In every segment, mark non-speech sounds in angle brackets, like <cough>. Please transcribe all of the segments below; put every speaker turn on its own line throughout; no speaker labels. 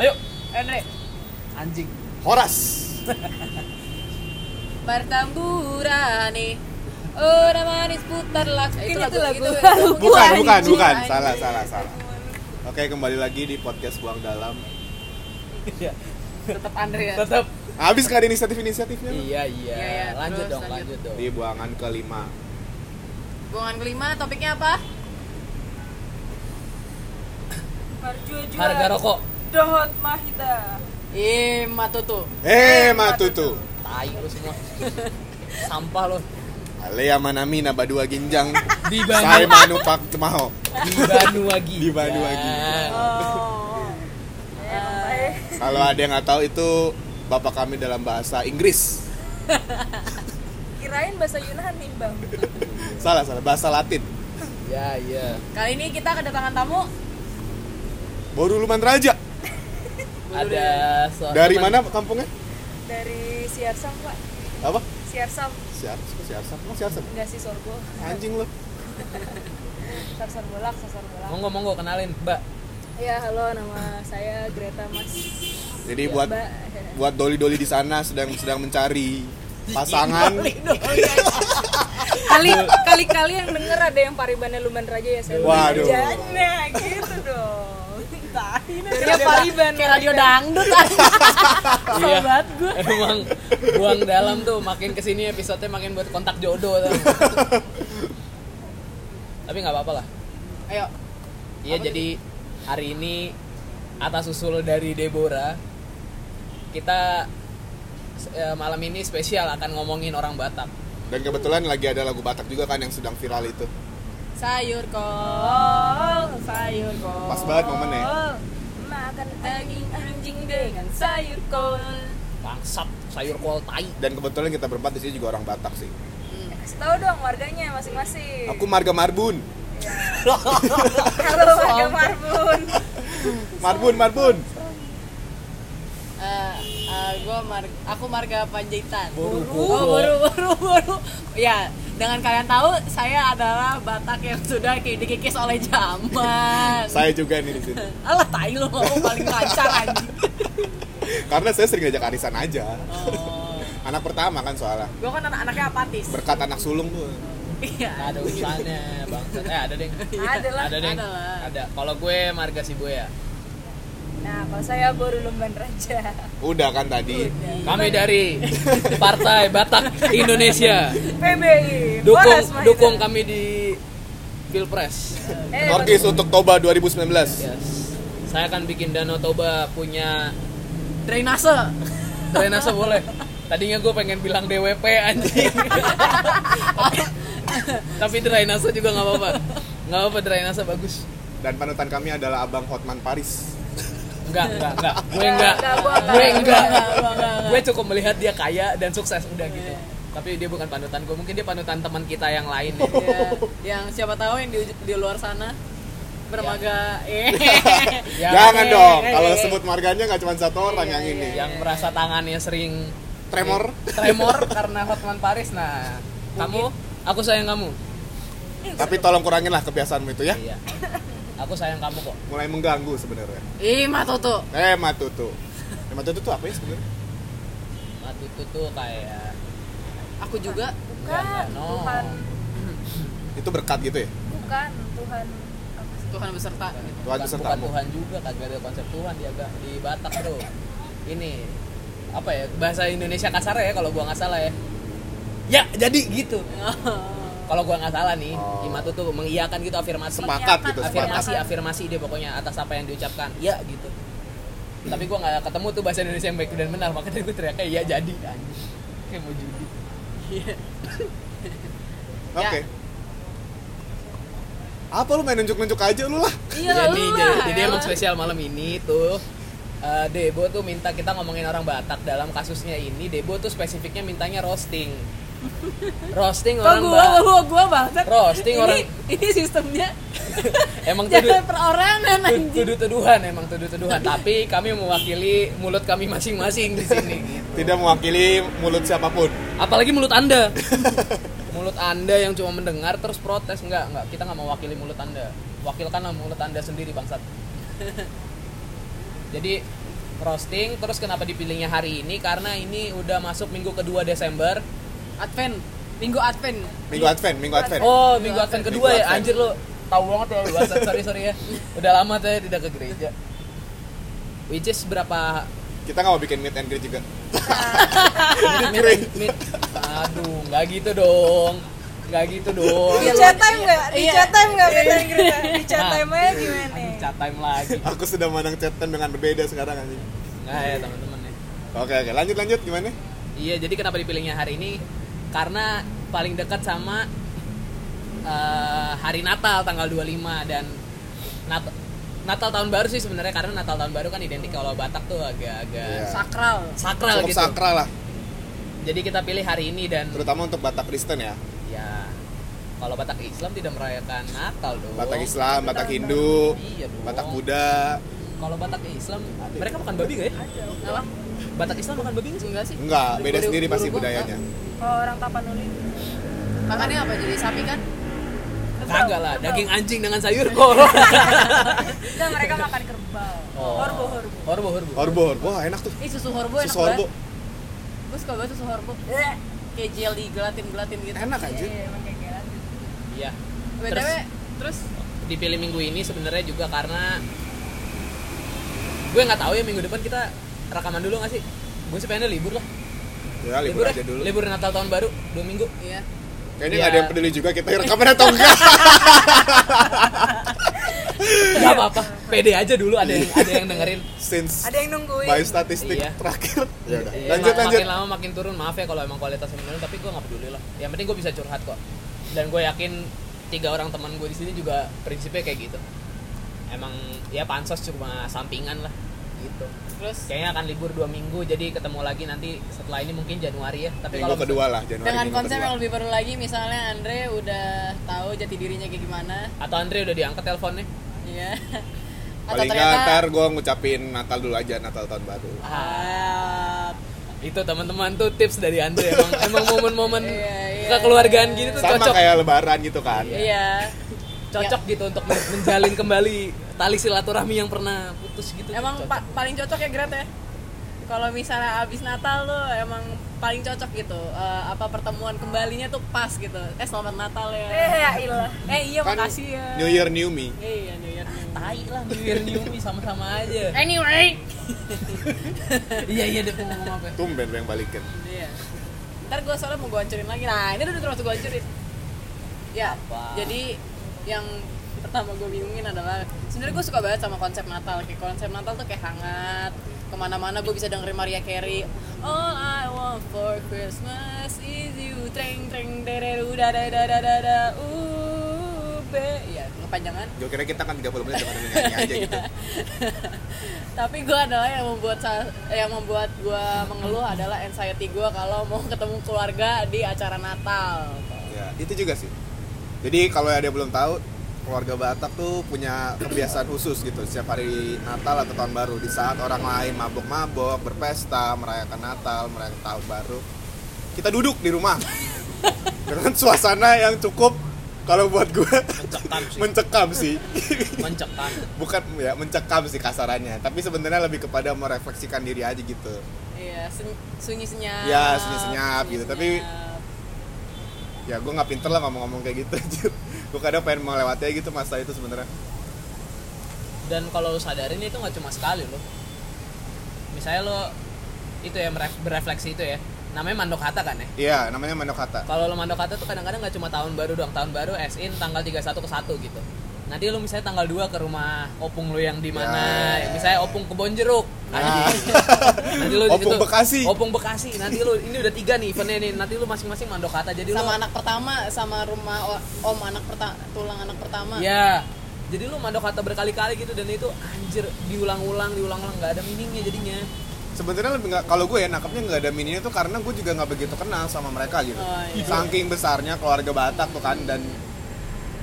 Ayo,
Andre
anjing.
Horas.
Martamburane Oh manis putar lagu
Eh, itu
Kayaknya
lagu-
itu lagu
<laughs>
itu
Lagu
Bukan,
anjing.
bukan, bukan.
Anjing.
Salah, salah, salah. Oke, kembali lagi di podcast Buang Dalam.
Iya.
tetap Andre ya
Tetap.
Habis gak ada inisiatif-inisiatifnya? lu?
Iya, iya.
Iya, iya.
Lanjut
Terus,
dong,
lanjut.
lanjut dong.
Di buangan kelima.
Buangan kelima topiknya apa?
Marjujuan
Harga rokok.
Dohot Mahida
Ih, Matutu
Eh, matutu.
Tai lu
<laughs>
semua. Sampah lu.
Alea manami naba dua ginjang.
Di
Saya
Bandung.
manupak maho.
Di Iya. Bandung lagi.
Di Bandung lagi.
Oh Eh,
Kalau ada yang nggak tahu itu bapak kami dalam bahasa Inggris.
Kirain bahasa Yunani bang
Salah, salah. Bahasa Latin.
Iya, iya.
Kali ini kita kedatangan tamu
Baru luman raja.
Ada
ya.
seorang
Dari
teman-
mana kampungnya?
Dari Siarsam pak
Apa?
Siarsam
Siar, siarsam, Emang siarsam.
Enggak sih sorbo
Anjing lu.
Sarsar bolak, sarsar bolak
Monggo, monggo kenalin, Mbak.
Ya halo nama saya Greta Mas
Jadi buat
Mbak eh.
buat doli-doli di sana sedang sedang mencari pasangan.
Iya.
<laughs>
Kali, kali-kali yang denger ada yang paribana luman raja ya saya
Waduh.
Jana gitu dong
Kayak
Pariban
Kayak radio dangdut
ah.
Iya. <laughs> Emang buang dalam tuh makin kesini episodenya makin buat kontak jodoh.
<laughs>
tuh. Tapi nggak apa-apa lah.
Ayo
Iya jadi hari ini atas usul dari Deborah kita eh, malam ini spesial akan ngomongin orang Batak.
Dan kebetulan lagi ada lagu Batak juga kan yang sedang viral itu.
Sayur kok
Oh, sayur kok.
Oh.
Pas banget momennya.
Makan daging anjing kan? dengan sayur kol.
Bangsat sayur kol tai.
Dan kebetulan kita berempat di sini juga orang Batak sih.
Kasih tahu dong warganya masing-masing.
Aku marga Marbun.
Halo warga Marbun.
Marbun, Marbun.
Eh, eh, gua mar- aku marga Panjaitan.
Boru,
Oh, boru, boru, boru. <laughs> Ya, dengan kalian tahu saya adalah Batak yang sudah ki- dikikis oleh zaman.
Saya juga nih di sini.
Alah tai lu ngomong paling lancar anjing.
Karena saya sering ngajak arisan aja.
Oh.
Anak pertama kan soalnya.
Gua kan anak-anaknya apatis.
Berkat anak sulung tuh.
Nggak
Iya.
ada usahanya bangsat. Eh ada deh.
Ada lah.
Ada deh.
ada lah.
Ada. Kalau gue marga Sibuya.
Nah, kalau saya baru lumban
<laughs>
raja.
Udah kan tadi.
Kami dari Partai Batak Indonesia.
PBI.
Dukung
Boras Mahida.
dukung kami di Pilpres.
Eh,
Norkis untuk Toba 2019.
Yes. Saya akan bikin Danau Toba punya
Drainase.
Drainase boleh. Tadinya gue pengen bilang DWP anjing. Tapi- Tapi drainase juga nggak apa-apa. Nggak apa-apa drainase bagus.
Dan panutan kami adalah Abang Hotman Paris.
Enggak, enggak, enggak. Gue
Enggak,
enggak.
enggak, gua enggak.
Gue enggak.
Enggak, gua enggak, enggak.
Gue cukup melihat dia kaya dan sukses udah gitu. Tapi dia bukan panutan gue. Mungkin dia panutan teman kita yang lain. ya.
Ya, yang siapa tahu yang di, di luar sana bermaga eh
Yang-
Jangan
eh,
dong.
eh,
Kalau
eh, iya,
sebut marganya nggak cuma satu orang yang ini.
yang merasa tangannya sering
Tremor.
Iya. tremor karena Hotman Paris. Nah, kamu, aku sayang kamu.
Tapi tolong kurangin lah kebiasaanmu itu ya.
Iya. Aku sayang kamu kok.
Mulai mengganggu sebenarnya.
Ih, Matoto.
Eh, Matutu. Eh, Matutu tuh apa ya sebenarnya?
Matutu tuh kayak
Aku juga
bukan,
Ya, No.
Tuhan,
Itu berkat gitu ya?
bukan Tuhan. Apa sih?
Tuhan beserta.
Tuhan
bukan,
besertamu.
bukan Tuhan juga kagak ada konsep Tuhan di agama di Batak bro. Ini apa ya bahasa Indonesia kasar ya kalau gua nggak salah ya. Ya jadi gitu. Kalau gua nggak salah nih,
Oh.
Imatu tuh mengiyakan gitu afirmasi.
Sepakat gitu, sepakat.
afirmasi afirmasi dia pokoknya atas apa yang diucapkan. Ya gitu. Tapi gua nggak ketemu tuh bahasa Indonesia yang baik dan benar, makanya gue teriaknya ya jadi. anjing. Kayak mau judi.
Oke.
Ya.
Apa lu main nunjuk-nunjuk aja lu lah?
Iya,
jadi, jadi, jadi emang spesial malam ini tuh eh, Debo tuh minta kita ngomongin orang Batak dalam kasusnya ini Debo tuh spesifiknya mintanya roasting. Roasting
Kok
orang
gua,
Batak.
gua, gua banget.
Roasting
ini,
orang
ini sistemnya
emang tuduh
jangan perorangan anjing.
tuduh tuduhan emang tuduh tuduhan tapi kami mewakili mulut kami masing-masing di sini gitu.
Tidak mewakili mulut siapapun.
apalagi mulut anda <laughs> mulut anda yang cuma mendengar terus protes nggak nggak kita nggak mewakili mulut anda wakilkanlah mulut anda sendiri bangsat <laughs> Jadi roasting terus kenapa dipilihnya hari ini karena ini udah masuk minggu kedua Desember.
Advent, minggu Advent.
Minggu Advent, Minggu Advent.
Iya. Oh, minggu Advent kedua
Minggu
ya.
Advent.
Anjir lu tahu banget ya lu. Bangsat. Sorry sorry ya. Udah lama tuh ya tidak ke gereja. Which is berapa
Kita nggak mau bikin meet and greet juga.
menit? menit? Aduh, nggak gitu dong. Nggak gitu dong.
Di chat time nggak? Di
Iya.
chat time nggak kita cerita? Di chat
Nah.
time aja gimana?
Aduh, chat time lagi.
Aku sudah menang chatan dengan berbeda sekarang anjing.
Nah ya teman-teman ya.
Oke oke, lanjut lanjut gimana?
Iya, jadi kenapa dipilihnya hari ini? Karena paling dekat sama eh, hari Natal tanggal 25 dan Nat- Natal tahun baru sih sebenarnya karena Natal tahun baru kan identik kalau Batak tuh agak-agak
Iya.
Sakral.
sakral
Cukup
gitu.
sakral lah,
Jadi kita pilih hari ini dan
terutama untuk Batak Kristen ya.
ya kalau Batak Islam tidak merayakan Natal dong.
Batak Islam, Batak Hindu,
Iya dong.
Batak Buddha.
Kalau Batak Islam mereka makan babi nggak ya?
Apa?
Batak Islam makan babi nggak sih?
Enggak sih.
Enggak, beda
Buru-
sendiri pasti
buru-
budayanya.
Kalau orang Tapanuli
Makannya apa jadi sapi kan?
Kagak lah, daging anjing dengan sayur kok.
Enggak, mereka makan kerbau.
Oh.
Horbo, horbo.
Horbo, horbo.
Horbo, horbo, wah enak tuh.
Ih susu horbo enak
Susu horbo.
banget. Gue suka banget susu horbo.
Eh,
Kayak jelly gelatin gelatin gitu.
Enak anjir.
Iya, emang kayak gelatin.
Iya.
BTW,
Terus
terus
dipilih minggu ini sebenarnya juga karena gue nggak tahu ya minggu depan kita rekaman dulu nggak sih? Gue sih pengennya libur lah.
Ya libur
ya?
aja dulu.
Libur Natal tahun baru dua minggu.
iya.
Kayaknya
Iya.
nggak ada yang peduli juga kita rekaman atau enggak. Iya.
Gak apa-apa. Pede aja dulu ada yang ada yang dengerin.
Since
Ada yang nungguin.
by statistik
Iya.
terakhir. Ya udah.
Iya,
Lanjut
mak-
lanjut.
Makin lama makin turun. Maaf ya kalau emang kualitasnya menurun tapi gue nggak peduli lah. Yang penting gue bisa curhat kok. Dan gue yakin tiga orang teman gue di sini juga prinsipnya kayak gitu. Emang ya pansos cuma sampingan lah gitu.
Terus
kayaknya akan libur dua minggu jadi ketemu lagi nanti setelah ini mungkin Januari ya tapi
Minggu
kalau
kedua lah Januari.
dengan
minggu
konsep
kedua.
yang lebih baru lagi misalnya Andre udah tahu jati dirinya kayak gimana,
atau Andre udah diangkat teleponnya
iya. Atau
Paling nggak
ternyata
ntar gue ngucapin Natal dulu aja Natal tahun baru.
Ah,
itu teman-teman tuh tips dari Andre
<laughs>
emang emang momen-momen
Iya, iya,
kekeluargaan gitu tuh
Sama
cocok
kayak Lebaran gitu kan.
Iya.
cocok gitu untuk men- menjalin kembali tali silaturahmi yang pernah putus gitu
Emang
Cocok.
pa- paling cocok ya Gret ya? Kalau misalnya abis Natal lo emang paling cocok gitu. Eh, apa pertemuan kembalinya tuh pas gitu. Eh selamat Natal ya.
Eh, ya ilah.
Eh iya
Kan
makasih ya.
New Year New Me.
Iya iya New Year. New.
tai lah New Year New Me sama-sama aja
Anyway.
<laughs> iya iya deh mau ngomong apa
Tumben lu yang balikin.
Iya. Ntar gue soalnya mau gue hancurin lagi. Nah ini udah termasuk gue hancurin. Ya.
Apa?
Jadi yang pertama gue bingungin adalah sebenarnya gue suka banget sama konsep Natal. Kayak konsep Natal tuh kayak hangat. Kemana-mana gue bisa dengerin Maria Carey. All I want for Christmas is you. Treng treng dereru da da da da da da. Ube. Ya kepanjangan.
Gue kira kita kan 30 menit cuma nyanyi aja gitu.
tapi gue adalah yang membuat sa- yang membuat gue mengeluh adalah anxiety gue kalau mau ketemu keluarga di acara Natal
Ya, itu juga sih. Jadi kalau ada yang belum tahu, keluarga Batak tuh punya kebiasaan khusus gitu. Setiap hari Natal atau tahun baru di saat orang lain mabuk-mabuk, berpesta, merayakan Natal, merayakan tahun baru, kita duduk di rumah
<laughs>
dengan suasana yang cukup kalau buat gue
mencekam sih
mencekam
<laughs>
sih.
mencekam
Bukan ya mencekam sih kasarannya, tapi sebenarnya lebih kepada merefleksikan diri aja gitu.
iya sen- sunyi senyap
Iya, sunyi senyap gitu. Tapi-
senyap.
Ya gue nggak pinter lah ngomong-ngomong kayak gitu. anjir. gue kadang pengen melewati aja gitu masa itu sebenarnya.
dan kalau lo sadarin itu nggak cuma sekali lo misalnya lo itu ya meref- berefleksi itu ya namanya mandok hata kan ya
Iya, namanya Mano Kata.
kalau lo mandok hata tuh kadang-kadang nggak cuma tahun baru doang tahun baru as in tanggal 31 ke 1 gitu nanti lo misalnya tanggal 2 ke rumah opung lo yang di mana
Ya.
misalnya opung kebon jeruk
<laughs> Nah.
nanti lo di
Opung
situ-
Bekasi.
opung bekasi nanti lo ini udah tiga nih eventnya nih nanti lo masing-masing mandok hata jadi
sama
lo
anak pertama sama rumah o- om anak pertama tulang anak pertama
ya jadi lo mandok hata berkali-kali gitu dan itu anjir diulang-ulang diulang-ulang nggak ada meaningnya jadinya
Sebenarnya lebih nggak kalau gue ya nangkapnya nggak ada mininya tuh karena gue juga nggak begitu kenal sama mereka gitu.
Oh, iya.
Saking besarnya keluarga Batak tuh kan dan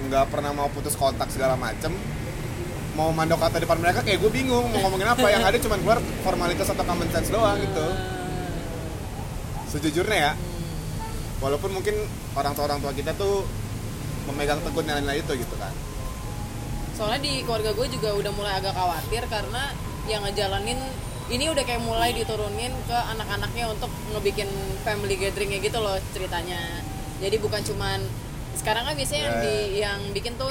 nggak pernah mau putus kontak segala macem mau mandok kata depan mereka kayak gue bingung mau ngomongin apa yang ada cuman keluar formalitas atau common sense doang gitu
Ah.
sejujurnya ya walaupun mungkin orang tua orang tua kita tuh memegang teguh nilai-nilai itu gitu kan
soalnya di keluarga gue juga udah mulai agak khawatir karena yang ngejalanin ini udah kayak mulai diturunin ke anak-anaknya untuk ngebikin family gatheringnya gitu loh ceritanya jadi bukan cuman sekarang kan biasanya yang di yang bikin tuh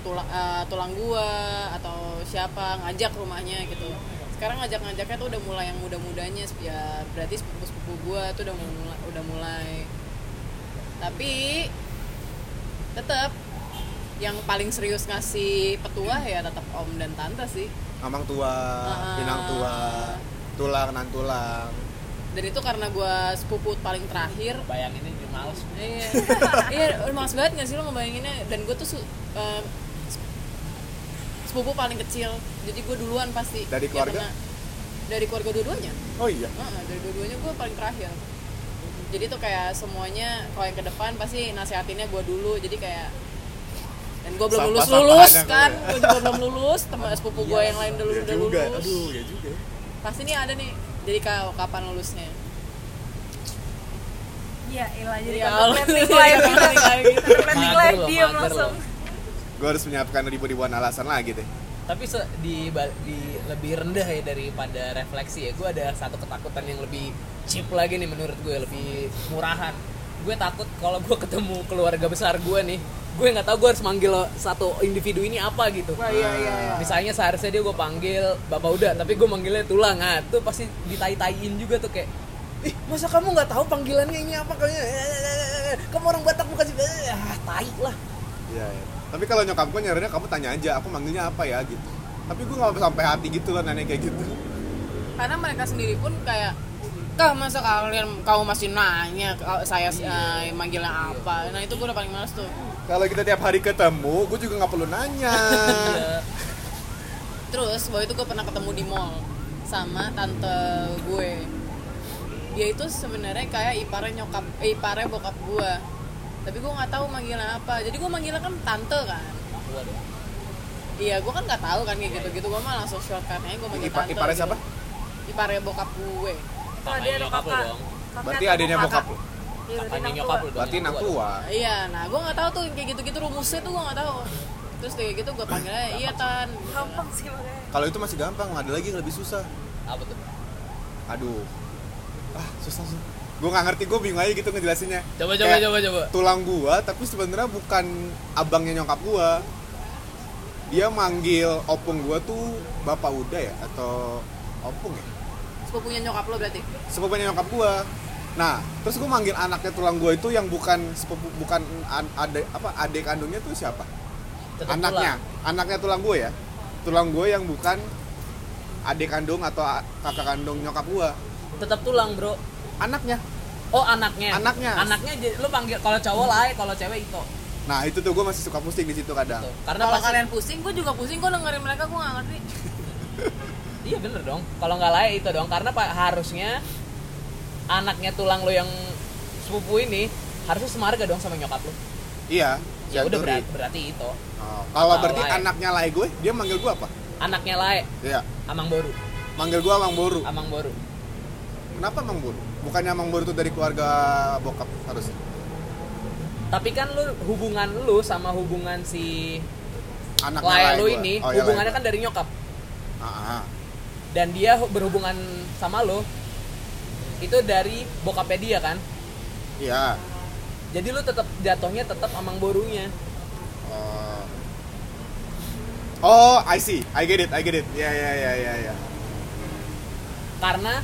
tulang tulang gua atau siapa ngajak rumahnya gitu sekarang ngajak-ngajaknya tuh udah mulai yang muda-mudanya ya berarti sepupu-sepupu gua tuh udah mulai udah mulai tapi tetap yang paling serius ngasih petua ya tetap om dan tante sih
Amang tua,
Ah.
pinang tua, tulang nan tulang.
dan itu karena gue sepupu paling terakhir
bayanginnya jadi males
iya <laughs> iya udah males banget gak sih lo ngebayanginnya dan gue tuh su- em, sepupu paling kecil jadi gue duluan pasti Ya,
Dari keluarga?
karena- dari keluarga dua-duanya
Oh iya.
Heeh, dari dua-duanya gue paling terakhir jadi tuh kayak semuanya kalau yang ke depan pasti nasihatinnya gue dulu jadi kayak dan gue belum lulus
Sampah-sampahannya
lulus
kalau
kan
ya.
gue juga belum lulus teman sepupu gue yang lain dulu
Iya
udah
juga.
lulus
Aduh, ya juga.
pasti nih ada nih jadi kau kapan lulusnya
Iya, elah jadi
Ya
contemplating
Allah.
life
<laughs>
gitu. Contemplating
Mager
life
lo,
diam
mager
langsung.
lo.
Gue harus menyiapkan ribu-ribuan alasan lagi deh.
tapi se- di, ba- di lebih rendah ya daripada refleksi ya gue ada satu ketakutan yang lebih cheap lagi nih menurut gue lebih murahan gue takut kalau gue ketemu keluarga besar gue nih gue nggak tahu gue harus manggil satu individu ini apa gitu
Oh, iya, Ah.
misalnya seharusnya dia gue panggil bapak udah tapi gue manggilnya tulang ah tuh pasti ditai-taiin juga tuh kayak ih masa kamu nggak tahu panggilannya ini apa kamu kamu orang Batak bukan sih ah tai lah
Iya. iya. Tapi kalau nyokap gue nyarinya kamu tanya aja, aku manggilnya apa ya gitu. Tapi gue nggak sampai hati gitu loh nenek kayak gitu.
karena mereka sendiri pun kayak kah masa kalian kamu masih nanya kalau saya eh, manggilnya apa nah itu gue udah paling males tuh
Kalau kita tiap hari ketemu, gue juga nggak perlu nanya.
Iya.
terus waktu itu gue pernah ketemu di mall sama tante gue dia itu sebenarnya kayak iparnya nyokap eh, iparnya bokap gue tapi gue nggak tahu manggilnya apa jadi gue manggilnya kan tante kan iya gue kan nggak tahu kan kayak gitu gitu gue mah langsung shortcutnya gue manggil
Ipa-
tante
iparnya
gitu.
siapa?
iparnya bokap gue
Kalau dia ada
Kakak lo
kakak.
dong.
kakak
Berarti
atau
adanya
kakak.
bokap lu.
Iya, berarti
Kakaknya
anak
nyokap lu
tua.
dong,
Berarti
yang
anak
tua dong.
tua.
Iya, nah gue nggak tahu tuh yang kayak gitu-gitu rumusnya tuh gue nggak tahu. Terus kayak gitu gue panggilnya iya tan.
Gampang sih makanya.
Kalau itu masih gampang, ada lagi yang lebih susah.
apa tuh
Aduh. Ah, susah sih. Gue nggak ngerti, gue bingung aja gitu ngejelasinnya.
coba coba
Kayak
coba coba
Tulang gua, tapi sebenarnya bukan abangnya nyokap gua. Dia manggil opung gua tuh bapak udah ya atau opung ya?
Sepupunya nyokap lo berarti.
sepupunya nyokap gua nah terus gua manggil anaknya tulang gua itu yang bukan sepupu bukan an- adek apa adik kandungnya tuh siapa
Tetep
anaknya anaknya tulang gua ya tulang gua yang bukan adik kandung atau a- kakak kandung nyokap gua
tulang. tetap tulang bro
anaknya
oh anaknya
Anaknya.
anaknya jadi- lu panggil kalau cowok lain kalau cewek itu
nah itu tuh gua masih suka pusing di situ kadang
Tuh. karena
Kalau
pasti-
kan-
kalian pusing, gue juga pusing. Gue dengerin mereka gue nggak ngerti.
iya bener dong kalau nggak lain itu dong karena pak harusnya anaknya tulang lo yang sepupu ini harusnya semarga dong sama nyokap lo
iya
ya udah
Janturi.
berat- berarti itu
Oh, kalau
Kalau
berarti
lain.
anaknya lai gue dia manggil gua apa
anaknya lain
iya
amang boru
manggil gua mang boru
amang boru
kenapa mang boru bukannya mang boru tuh dari keluarga bokap harusnya
tapi kan lu hubungan lu sama hubungan si
anaknya
lain lu
gua.
ini
Oh, iya, lai
hubungannya
gua.
kan dari nyokap
Ah, ah.
dan dia hu- berhubungan sama lo itu dari bokapnya dia kan
iya
jadi lu tetap jatuhnya tetap amang borunya
Oh. Oh, I see. I get it. I get it. Ya, ya, ya, ya, ya.
karena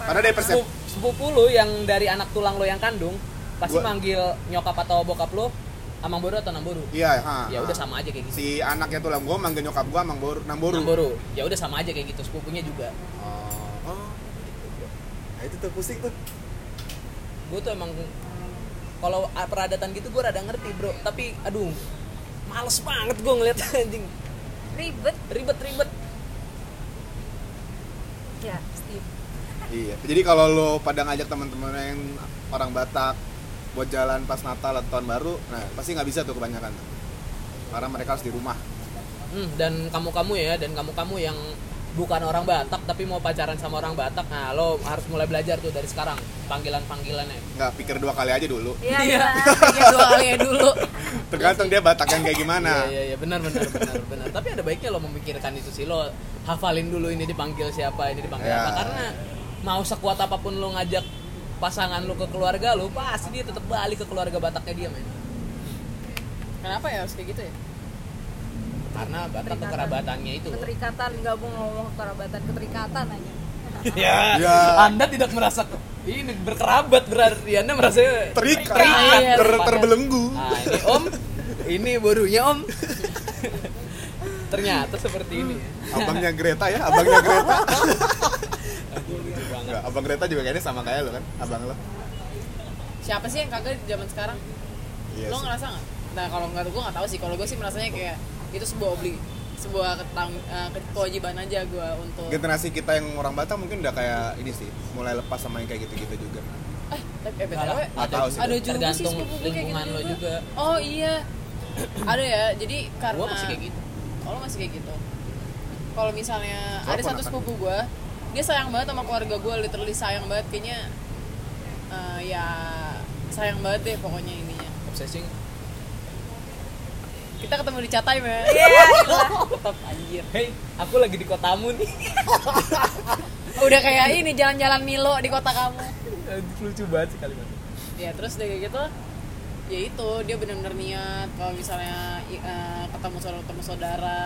Karena dari persep.
sepupu, sepupu lu yang dari anak tulang lo yang kandung pasti
Gua-
manggil nyokap atau bokap lu amang boru atau namboru
Iya, ha,
ya
ha.
udah sama aja kayak gitu
Si anaknya tulang gua manggil nyokap gua Mang Boru, Nang Boru.
namboru ya udah sama aja kayak gitu sepupunya juga
Oh. oh. Nah, itu tuh pusing tuh.
gue tuh emang kalau a- peradatan gitu gue rada ngerti bro tapi aduh males banget gue ngeliat <laughs> anjing
Ribet
ribet ribet
ya, Steve.
Iya. Jadi kalau lo pada ngajak teman-teman yang orang Batak buat jalan pas Natal atau tahun baru, nah pasti nggak bisa tuh kebanyakan. Karena mereka harus di rumah.
Hmm, dan kamu kamu ya dan kamu kamu yang bukan orang Batak tapi mau pacaran sama orang Batak nah lo harus mulai belajar tuh dari sekarang panggilan panggilannya
nggak pikir dua kali aja dulu
Iya,
Iya.
iya.
Pikir dua kali ya dulu
tergantung dia batak yang kayak
Iya
gimana
iya iya benar benar
<laughs>
benar benar. Tapi ada baiknya lo memikirkan itu sih lo hafalin dulu ini dipanggil siapa ini dipanggil
Iya.
apa karena mau sekuat apapun lo ngajak pasangan lo ke keluarga lo pasti dia tetap balik ke keluarga Bataknya dia men.
Kenapa ya harus kayak gitu ya?
Karena Batak
Keterikatan.
kekerabatannya itu.
Keterikatan, nggak mau ngomong kerabatan, keterikatan aja.
Ya.
Iya.
Anda tidak merasa ke- ini berkerabat berarti Anda merasa
terikat
Iya,
Terikat.
ter- terbelenggu
Ah, ini Om, ini borunya Om. Ternyata seperti ini. ya.
abangnya Greta ya abangnya Greta
Aduh, lucu banget.
Nggak, abang Greta juga kayaknya sama kayak lo kan abang lo
Siapa sih yang kagak di zaman sekarang?
Iya
Lo
sih.
ngerasa nggak? Nah kalau nggak gue nggak tahu sih. Kalau gue sih merasanya kayak itu sebuah obli, sebuah ketang, eh, ke- kewajiban aja gue untuk.
generasi kita yang orang Batak mungkin udah kayak ini sih mulai lepas sama yang kayak gitu-gitu juga
Eh, tapi eh,
Nggak
btw,
lah, nggak
tahu sih.
ada juga sih
Tergantung
sepupu gue kayak
lingkungan
gitu
lo juga.
Oh iya, ada ya. Jadi karena
Gua masih kayak gitu.
Oh, lo masih kayak gitu. Kalau misalnya
Gua
ada satu
ponakan.
sepupu gue, dia sayang banget sama keluarga gue, literally sayang banget kayaknya. eh, ya sayang banget deh pokoknya ininya.
Obsessing.
Kita ketemu di Catai, ya. Tetap anjir.
Hey, aku lagi di kotamu nih.
Udah kayak ini jalan-jalan Milo di kota kamu.
Lucu banget sih kalimatnya.
Ya terus udah kayak gitu ya itu dia benar-benar niat kalau misalnya i- eh, ketemu saudara ketemu saudara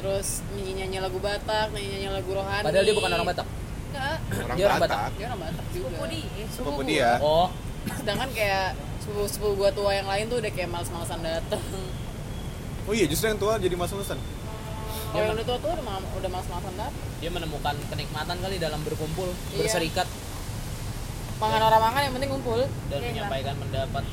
terus nyanyi nyanyi lagu Batak nyanyi nyanyi lagu rohani
Padahal dia bukan orang Batak.
enggak
orang
Dia orang
Batak
dia orang Batak juga
Sepupu dia.
sepupu
Sepupu.
dia
Oh,
sedangkan kayak sepupu sepupu gua tua yang lain tuh udah kayak males-malesan dateng
oh iya justru yang tua jadi mas lulusan
kalau yang udah tua tua udah ma- udah males-malesan dateng
dia menemukan kenikmatan kali dalam berkumpul,
Iya.
berserikat
makan orang makan yang penting kumpul
dan
Iya,
menyampaikan pendapat.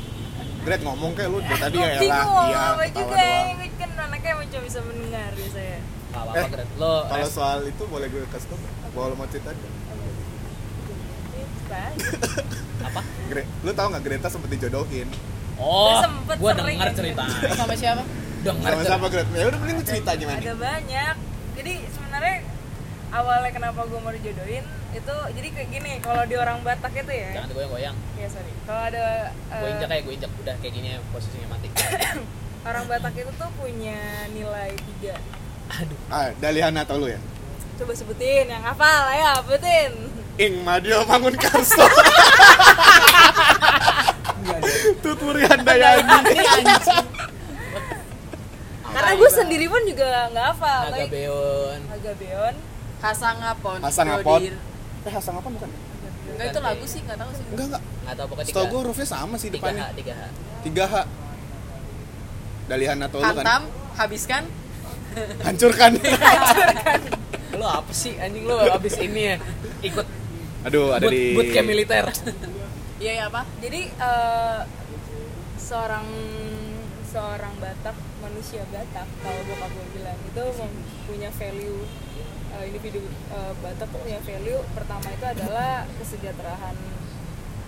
Gret ngomong kayak lu dari tadi ya
Bingung
elah
mau
iya
apa
ketawa
juga,
doang
ini kan anaknya macam bisa mendengar biasanya.
Gak apa-apa,
Eh,
Gret. Lo
kalau
res-
soal itu boleh gue kasih tau nggak? boleh mau cerita aja
Ini banyak.
apa?
Gre- lu tau nggak Greta sempet dijodohin
Oh,
Dia sempet
gua
sering
denger
kan.
ceritanya.
sama siapa
Denger
sama
ceritanya.
siapa Greta ya udah mending lu cerita aja man
Ada banyak. Jadi sebenarnya awalnya kenapa gue mau dijodohin itu jadi kayak gini kalau di orang Batak itu ya.
Kan?
Jangan digoyang-goyang.
Ya sorry. Kalau ada
Gue
eh,
injak kayak gue injak udah kayak gini ya, posisinya
<laughs>
mati.
orang Batak itu tuh punya nilai tiga.
Aduh.
ah Daliana tau lu ya
Coba sebutin yang hafal ya, sebutin.
Ing Madio Mangun Karso
<laughs>
Tut Handayani
ini anjing
Karena gue sendiri pun juga nggak hafal.
Naga
Tapi
Beon.
Agabeon.
Hasang Ngapon
Hasang Ngapon. Eh Hasang apa bukan?
enggak itu lagu sih enggak tahu sih
Enggak enggak
Nggak tahu pokoknya
Setau gue hurufnya sama sih
tiga H,
depannya
tiga H.
3H Daliana tau lu kan?
hantam habiskan
<laughs>
Hancurkan
Lo apa sih anjing lo abis ini ya? Ikut
Aduh ada
boot,
di
bootcamp
<laughs>
militer.
iya iya apa
Jadi eh, seorang seorang Batak manusia Batak kalau bokap gue bilang itu mem- punya value eh, individu eh, Batak tuh punya value pertama itu adalah kesejahteraan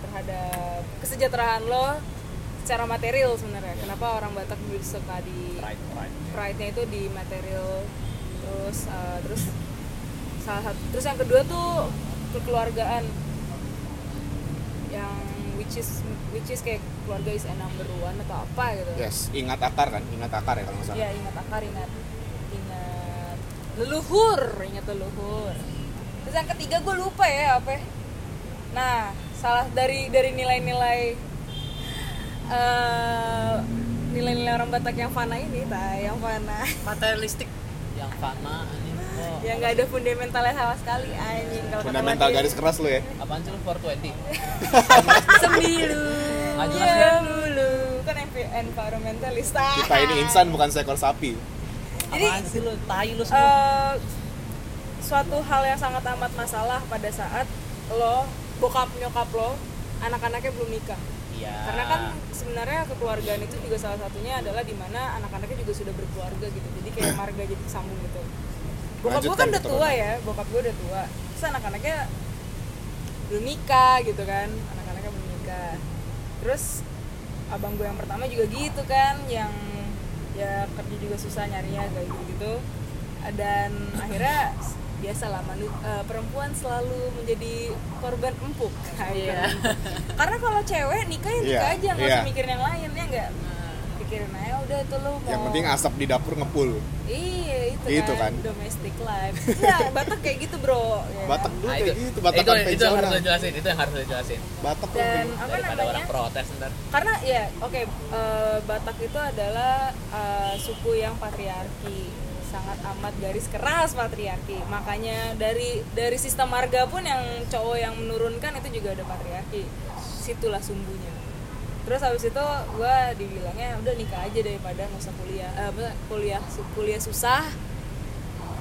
terhadap kesejahteraan lo secara material sebenarnya kenapa orang Batak suka di pride-nya itu di material terus eh, terus salah satu terus yang kedua tuh kekeluargaan yang which is which is kayak keluarga is a number one atau apa gitu
Yes, ingat akar kan? Ingat akar ya kalau nggak salah
ya ingat akar ingat ingat leluhur ingat leluhur terus yang ketiga gue lupa ya apa ya. nah salah dari dari nilai-nilai eh, nilai-nilai orang Batak yang fana ini tak yang fana <laughs>
materialistik
Yang fana anjing. Oh,
yang Ya, nggak ada fundamentalnya sama sekali anjing kalau kata
Fundamental
Mati.
garis keras lu ya
apaan sih lo
<laughs>
420?
sembilu
Nggak jelas
ya dulu kan envi- environmentalist ah.
Kita ini insan bukan seekor sapi
Jadi-
Apaan sih lo? Tai lo semua.
Eh, suatu hal yang sangat amat masalah pada saat lo bokap nyokap lo anak-anaknya belum nikah
Iya.
karena kan sebenarnya kekeluargaan itu juga salah satunya adalah di mana anak-anaknya juga sudah berkeluarga gitu jadi kayak marga jadi sambung gitu bokap gue
Lanjutkan
kan udah tua
keturunan.
ya bokap gue udah tua terus anak-anaknya belum nikah gitu kan anak-anaknya belum nikah terus abang gue yang pertama juga gitu kan yang ya kerja juga susah nyarinya kayak gitu gitu dan akhirnya biasalah manu- eh, perempuan selalu menjadi korban empuk
Iya.
<laughs> karena kalau cewek nikah ya nikah
Iya,
aja nggak usah
iya.
mikirin yang lain ya nggak pikirin aja udah itu lo mau
Yang penting asap di dapur ngepul.
iya itu,
Gitu kan.
domestic life nggak batak kayak gitu bro ya kan?
Batak dulu
Nah,
kayak gitu, Batak
itu, itu yang harus
konvensional.
lo jelasin, itu yang harus lo jelasin.
Batak tuh
dan
kayak-
apa
Daripada
namanya
orang protes ntar.
karena ya oke eh, Batak itu adalah eh, suku yang patriarki sangat amat garis keras patriarki makanya dari dari sistem marga pun yang cowok yang menurunkan itu juga ada patriarki situlah sumbunya terus habis itu gue dibilangnya "Ya udah nikah aja daripada nggak usah kuliah eh, apa, kuliah su- kuliah susah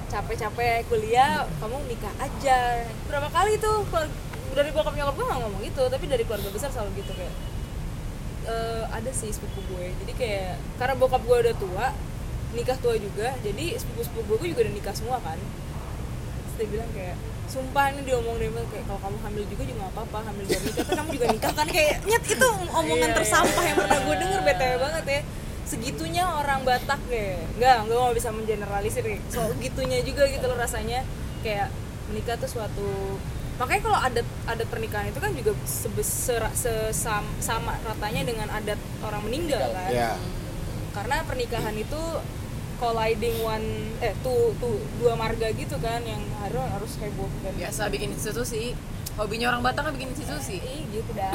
capek-capek kuliah kamu nikah aja berapa kali tuh keluar- dari bokap nyokap gue nggak ngomong gitu tapi dari keluarga besar selalu gitu kayak eh, ada sih sepupu gue jadi kayak karena bokap gue udah tua nikah tua juga jadi sepupu sepupu gue juga udah nikah semua kan Terus dia bilang kayak sumpah ini diomong deh kayak kalau kamu hamil juga juga gak apa-apa hamil juga nikah kan kamu juga nikah kan kayak nyet itu omongan tersampah yang pernah gue denger btw banget ya segitunya orang Batak deh nggak gue nggak bisa mengeneralisir kayak so gitunya juga gitu loh rasanya kayak menikah tuh suatu makanya kalau adat adat pernikahan itu kan juga sebesar sesam, sama ratanya dengan adat orang meninggal kan
Ya.
karena pernikahan itu colliding one eh tuh tuh dua marga gitu kan yang harus harus heboh dan
biasa bikin institusi hobinya orang Batak kan bikin institusi
Ih, gitu dah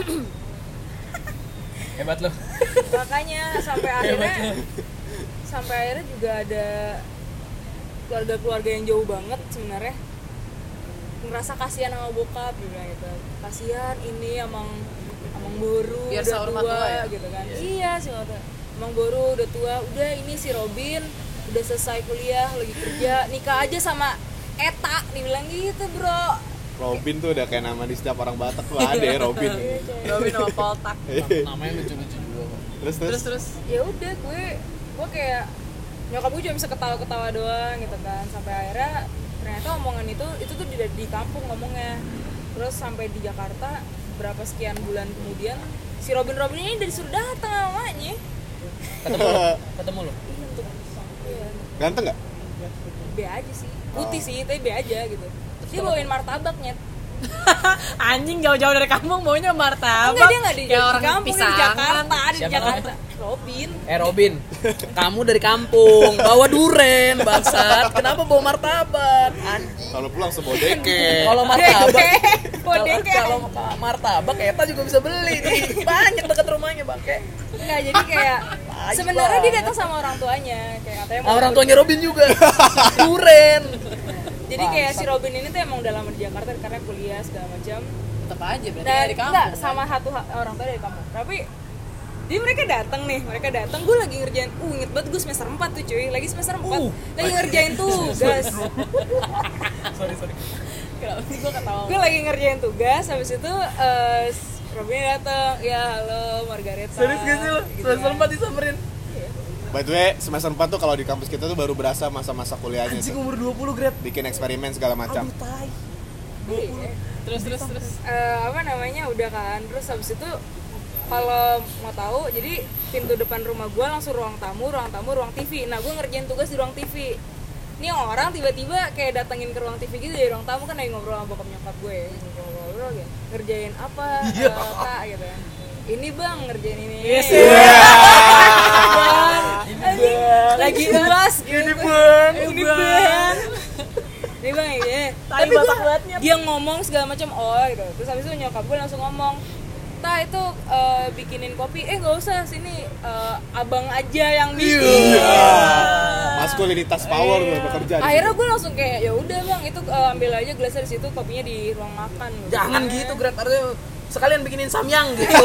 Hebat
<laughs>
lo.
makanya sampai akhirnya sampai akhirnya juga ada keluarga-keluarga yang jauh banget sebenarnya merasa kasihan sama bokap dia bilang gitu kasihan ini emang emang boru
Biar
udah
sahur
tua
sama tua ya?
gitu kan iya sih emang boru udah tua udah ini si Robin udah selesai kuliah lagi kerja nikah aja sama Eta dibilang gitu bro
Robin tuh udah kayak nama di setiap orang Batak tuh ada ya Robin.
Robin sama Poltak
Namanya lucu-lucu juga kok.
terus terus.
terus terus
ya udah gue gue kayak nyokap gue cuma bisa ketawa-ketawa doang gitu kan sampai akhirnya ternyata omongan itu itu tuh di, di kampung ngomongnya terus sampai di Jakarta berapa sekian bulan kemudian si Robin Robin ini dari suruh datang sama mamanya
Ketemu
<laughs>
lo, ketemu lo.
Iya, untuk iya,
Ganteng nggak?
B aja sih
Oh.
putih sih tapi B aja gitu dia bawain martabaknya
<laughs> Anjing jauh-jauh dari kampung maunya martabak.
enggak dia nggak di,
kayak
di
orang
kampung dia di
pisangan.
Jakarta dia di
kan? Siapa
Jakarta Robin
Eh Robin, kamu dari kampung, bawa duren, bangsat. Kenapa bawa martabak? Anjing.
Kalau pulang sebodeke.
Kalau
<laughs>
martabak, kalau-
bodengke
kalau ma- martabak Eta juga bisa beli. nih. Banyak dekat rumahnya, Bangke.
Enggak, jadi
<laughs>
kayak sebenarnya dia datang sama orang tuanya kayak katanya
Ah, Orang tuanya Robin juga. Duren.
jadi kayak si Robin ini tuh emang udah lama di Jakarta karena kuliah segala macam
tetap aja berarti
dan
dari
enggak,
kampung
kan?
sama satu ha- orang tua dari kampung tapi jadi mereka datang nih mereka datang gue lagi ngerjain uh inget banget gue semester 4 tuh cuy lagi semester 4
Uh.
lagi ngerjain tugas
Sorry, sorry.
kenapa sih gue ketawa
gue lagi ngerjain tugas habis itu eh, s- Robin datang ya halo Margareta
Serius gak sih lo?
Gitu
Serius
kan.
sempat disamperin.
By the way, semester 4 tuh kalau di kampus kita tuh baru berasa masa-masa kuliahnya
Anjing
tuh.
umur 20 grade.
Bikin eksperimen segala macam.
tai.
terus terus terus
eh, apa namanya udah kan terus habis itu kalau mau tahu jadi pintu depan rumah gue langsung ruang tamu ruang tamu ruang TV nah gue ngerjain tugas di ruang TV ini orang tiba-tiba kayak datengin ke ruang TV gitu dari ruang tamu kan lagi ngobrol sama bokap nyokap gue ngobrol-ngobrol gitu. ngerjain apa eh, Kak, gitu kan ini bang ngerjain ini yes, lagi uas ini bang ini bang ini bang ya tapi gua, dia ngomong segala macam oh gitu terus habis itu nyokap gue langsung ngomong ta itu eh, bikinin kopi eh nggak usah sini eh, abang aja yang bikin
Iya. Maskulinitas power tuh bekerja. di
akhirnya
situ.
gue langsung kayak ya udah bang itu eh, ambil aja gelasnya di situ kopinya di ruang makan gitu.
Jangan gitu grade artinya sekalian bikinin samyang gitu.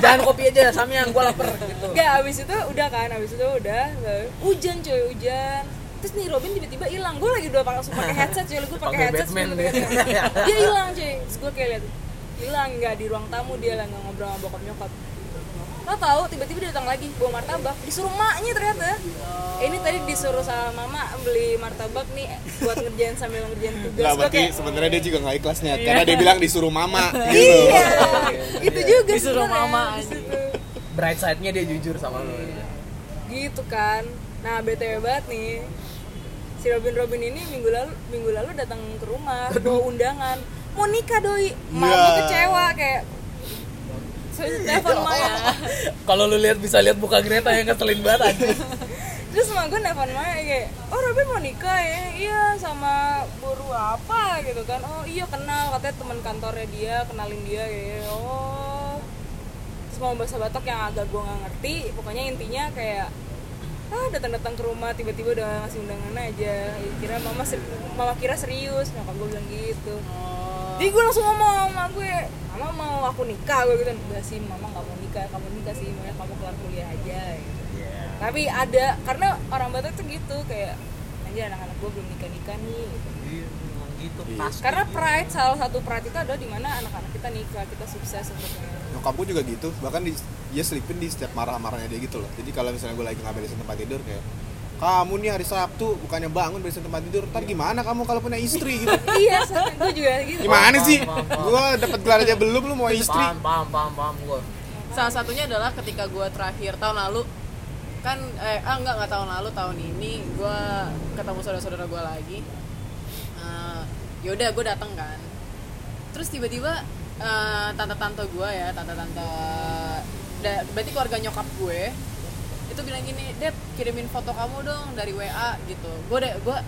Jangan kopi aja samyang, gua lapar gitu.
Gak, abis itu udah kan, abis itu udah eh, Hujan cuy, hujan Terus nih Robin tiba-tiba hilang, gue lagi udah langsung pakai headset cuy Gue pakai
Pakai
headset
Batman
sebelum
dia.
dia Dia hilang cuy, terus gue kayak liat Hilang, gak di ruang tamu dia lah, gak ngobrol sama bokap nyokap Lo tau, tiba-tiba dia datang lagi, bawa martabak Disuruh maknya ternyata Eh, Ini tadi disuruh sama mama beli martabak nih Buat ngerjain sambil ngerjain tugas
Nggak,
Gua
berarti
kayak,
sebenarnya dia juga nggak ikhlas
Iya.
niat karena dia bilang disuruh
<laughs>
mama gitu.
Iya, itu juga
Disuruh
sebenarnya
mama
di
aja.
situ.
Bright side-nya dia jujur sama lu.
gitu kan nah btw banget nih si Robin Robin ini minggu lalu minggu lalu datang ke rumah bawa undangan mau nikah doi mau
Ya.
kecewa kayak so, telepon Maya
Kalau lu lihat bisa lihat muka Greta yang ngeselin banget anjing.
terus sama gue nelfon Maya kayak oh Robin mau nikah ya iya sama buru apa gitu kan oh iya kenal katanya teman kantornya dia kenalin dia kayak oh semua bahasa Batak yang agak gue nggak ngerti pokoknya intinya kayak ah datang-datang ke rumah tiba-tiba udah ngasih undangan aja Ya, kira mama ser- mama kira serius nyokap gue bilang gitu jadi gue langsung ngomong sama mama gue mama mau aku nikah gue gitu enggak sih mama nggak mau nikah kamu nikah sih maunya kamu kelar kuliah aja gitu tapi ada karena orang Batak tuh gitu kayak anjir anak-anak gue belum nikah nikah nih gitu.
gitu
Iya.
pasti.
karena pride salah satu pride itu adalah dimana anak-anak kita nikah kita sukses untuk
nyokap gue juga gitu bahkan di, dia selipin di setiap marah-marahnya dia gitu loh jadi kalau misalnya gue lagi nggak beresin tempat tidur kayak kamu nih hari Sabtu bukannya bangun beresin tempat tidur ntar gimana kamu kalau punya istri
<laughs>
gitu
iya sama gue juga gitu
gimana
Paham,
sih
paham, paham.
gue dapat gelar aja belum lu mau istri
Paham, paham, paham, paham gua.
salah satunya adalah ketika gue terakhir tahun lalu kan eh ah, enggak enggak tahun lalu tahun ini gue ketemu saudara-saudara gue lagi Eh, yaudah gue datang kan terus tiba-tiba eh, tante-tante gue ya tante-tante da- berarti keluarga nyokap gue itu bilang gini Dep kirimin foto kamu dong dari WA gitu gue deh gue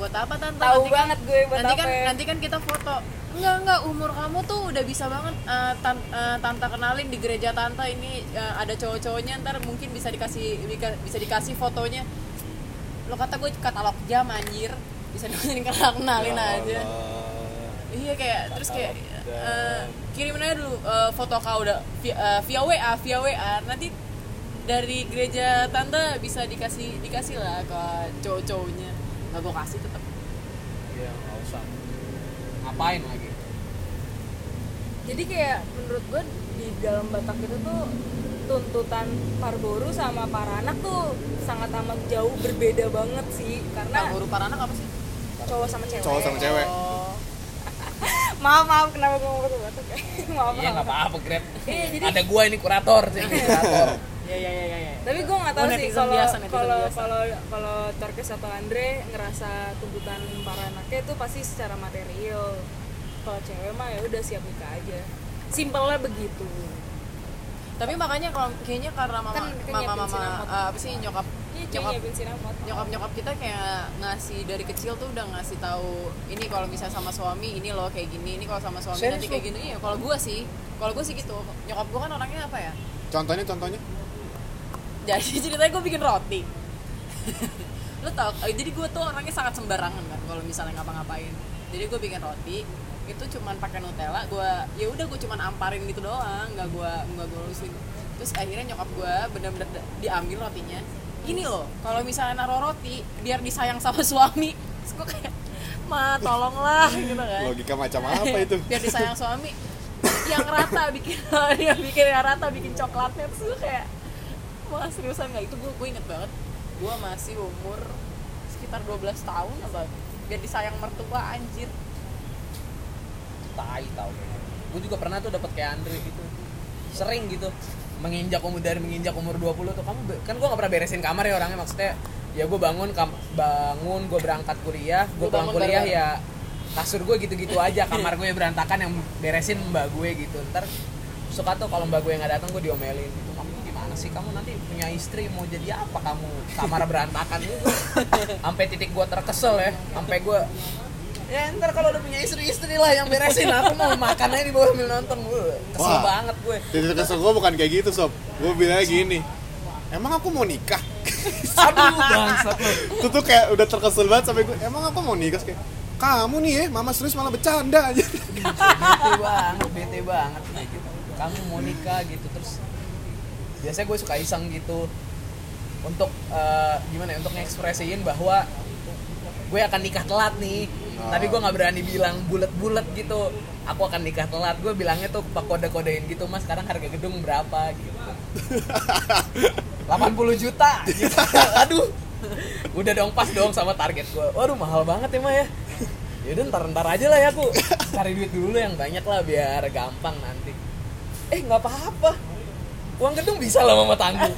buat apa tante Nanti
tahu
kan-
banget gue buat
nanti kan
apa ya.
nanti kan kita foto enggak enggak umur kamu tuh udah bisa banget eh, tan- eh, tante kenalin di gereja tante ini eh, ada cowok-cowoknya ntar mungkin bisa dikasih dika- bisa dikasih fotonya lo kata gue katalog jam anjir bisa dikasih kenalin aja iya kayak terus kayak eh, kirimin aja dulu eh, foto kau udah via, eh, via WA via WA nanti dari gereja tante bisa dikasih dikasih lah ke cowok-cowoknya Nah. nggak gue kasih tetap
Iya, nggak usah. Ngapain lagi?
jadi kayak menurut gue di dalam Batak itu tuh tuntutan parboru sama para anak tuh sangat amat jauh berbeda banget sih
nah,
karena
guru para anak apa sih
cowok sama cewek
cowok sama cewek
Oh.
maaf maaf kenapa gue ngomong batak ya <laughs> maaf
Iya, nggak
maaf
apa-apa, Grab.
Iya, jadi- Iya.
Ada gua ini kurator sih. Kurator.
Ya ya ya ya. ya.
tapi gue nggak tahu
Oh,
sih
netizen
kalau
biasa, netizen
kalau
biasa.
kalau kalau Torkes atau Andre ngerasa tuntutan para anaknya itu pasti secara material kalau cewek mah ya udah siap nikah aja simpelnya begitu
Tapi makanya kalau kayaknya karena mama
Kan kita
mama
nyiapin
mama
sinamot.
eh, apa sih nyokap
ini cewek
nyokap
Iya, nyiapin sinamot
nyokap nyokap kita kayak ngasih dari kecil tuh udah ngasih tahu ini kalau misalnya sama suami ini loh kayak gini ini kalau sama suami
Serius
nanti
lu?
kayak gini ya kalau gua sih kalau gua sih gitu nyokap gua kan orangnya apa ya
contohnya contohnya
jadi <laughs> ceritanya gue bikin roti lo tau eh, jadi gue tuh orangnya sangat sembarangan kan kalau misalnya ngapa-ngapain jadi gue bikin roti itu cuman pakai nutella gue ya udah gue cuman amparin gitu doang nggak gue nggak gue lurusin terus akhirnya nyokap gue bener-bener da- diambil rotinya gini loh kalau misalnya naro roti biar disayang sama <laughs> suami terus gue kayak ma tolonglah gitu kan
logika macam apa itu
<laughs> biar disayang suami yang rata bikin <laughs> yang bikin yang rata bikin coklatnya terus gue kayak wah seriusan nggak itu gue gue inget banget gue masih umur sekitar 12 tahun apa biar disayang mertua anjir
tai tau gue juga pernah tuh dapat kayak Andre gitu sering gitu menginjak umur dari menginjak umur 20 tuh kamu be- kan gue gak pernah beresin kamar ya orangnya maksudnya ya gue bangun kam- bangun gue berangkat kuliah gue
Lu
pulang
bangun
kuliah ya
bareng-bareng.
kasur gue gitu-gitu aja kamar gue berantakan yang beresin mbak gue gitu ntar suka tuh kalau mbak gue nggak datang gue diomelin gitu kamu gimana sih kamu nanti punya istri mau jadi apa kamu kamar berantakan gitu sampai titik gue terkesel ya sampai gue Ya ntar kalau udah punya istri-istri lah yang beresin Aku mau makan aja di bawah sambil nonton Wuh, Kesel
Wah.
banget gue
titik kesel gue bukan kayak gitu sob gue bilangnya gini emang aku mau nikah
Aduh bangsat lu
itu tuh kayak udah terkesel banget sampai gue emang aku mau nikah Terus kayak kamu nih ya mama serius malah bercanda aja <laughs>
Bete banget, bete banget kayak gitu. Kamu mau nikah gitu terus Biasanya gue suka iseng gitu Untuk eh, gimana ya, untuk ngekspresiin bahwa Gue akan nikah telat nih Tapi gue gak berani bilang bulet-bulet gitu Aku akan nikah telat Gue bilangnya tuh pak kode-kodein gitu Mas sekarang harga gedung berapa gitu 80 juta gitu. aduh udah dong pas dong sama target gue waduh mahal banget ya mah ya yaudah ntar ntar aja lah ya aku cari duit dulu yang banyak lah biar gampang nanti eh nggak apa-apa uang gedung bisa lah mama <laughs> tanggung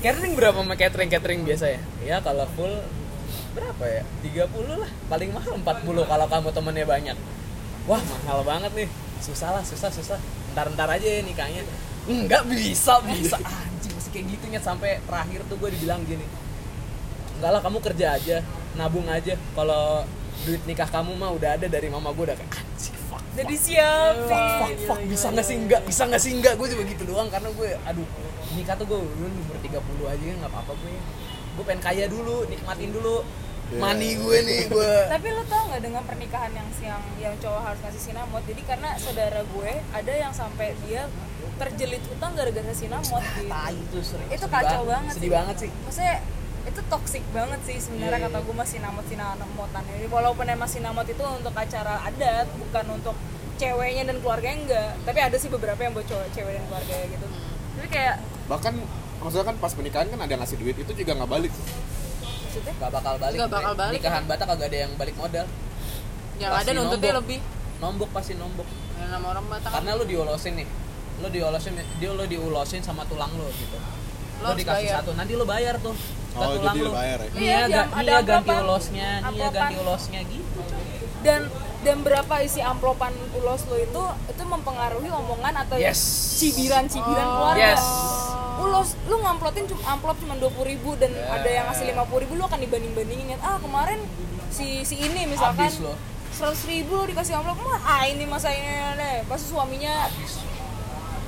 catering berapa sama catering catering biasa ya ya kalau full berapa ya 30 lah paling mahal 40 kalau kamu temennya banyak wah mahal banget nih susah lah susah susah ntar ntar aja ya nikahnya nggak bisa bisa anjing masih kayak gitu nyet sampai terakhir tuh gue dibilang gini enggak lah kamu kerja aja nabung aja kalau duit nikah kamu mah udah ada dari mama gue udah kayak anjing fuck
Udah disiapin.
fuck fuck fuck bisa nggak sih enggak bisa nggak sih enggak gue cuma gitu doang karena gue aduh nikah tuh gue dulu umur 30 aja nggak apa-apa gue gue pengen kaya dulu nikmatin dulu
Iya.
mani gue nih gue
Tapi lo tau nggak dengan pernikahan yang siang yang cowok harus ngasih sinamot. Jadi karena saudara gue ada yang sampai dia terjelit utang gara-gara sinamot gitu.
tai itu sering
Itu
sedih
kacau banget
sedih
sih.
banget sih
Maksudnya itu toxic banget sih sebenarnya
Iya,
kata
iya.
gue masih namot sinamotan ini walaupun emang sinamot itu untuk acara adat bukan untuk ceweknya dan keluarganya enggak tapi ada sih beberapa yang buat cowok cewek dan keluarga gitu
Hmm.
tapi kayak
bahkan maksudnya kan pas pernikahan kan ada yang ngasih duit itu juga nggak balik
maksudnya
nggak bakal balik
Nggak bakal
Bre.
balik.
ya?
nikahan batak kagak ada yang balik modal
yang
Pasti
ada nuntutnya
nombok.
lebih
nombok pasti nombok
yang nama orang kan. Batak
Kan
karena lu diulosin nih lu diulosin dia lu diulosin sama tulang lu gitu
Lu
lu
harus
dikasih
bayar.
satu nanti lu bayar tuh ke
Oh,
tulang
jadi
lu
lu bayar ya?
Nih
Iya,
ya
jam-
ga- nih
ada
ya ganti
aplopan.
ulosnya nih ya ganti
Aplopan.
ulosnya gitu coy.
dan dan berapa isi amplopan ulos lo itu itu mempengaruhi omongan atau
Yes.
cibiran-cibiran keluarga
Oh. Yes.
ulos lu ngamplotin cuma amplop cuma dua ribu dan ada yang ngasih lima ribu lu akan dibanding bandingin ah kemarin si si ini misalkan
Abis lo.
seratus ribu lo dikasih amplop mah ah ini masa ini, ini, ini." pas suaminya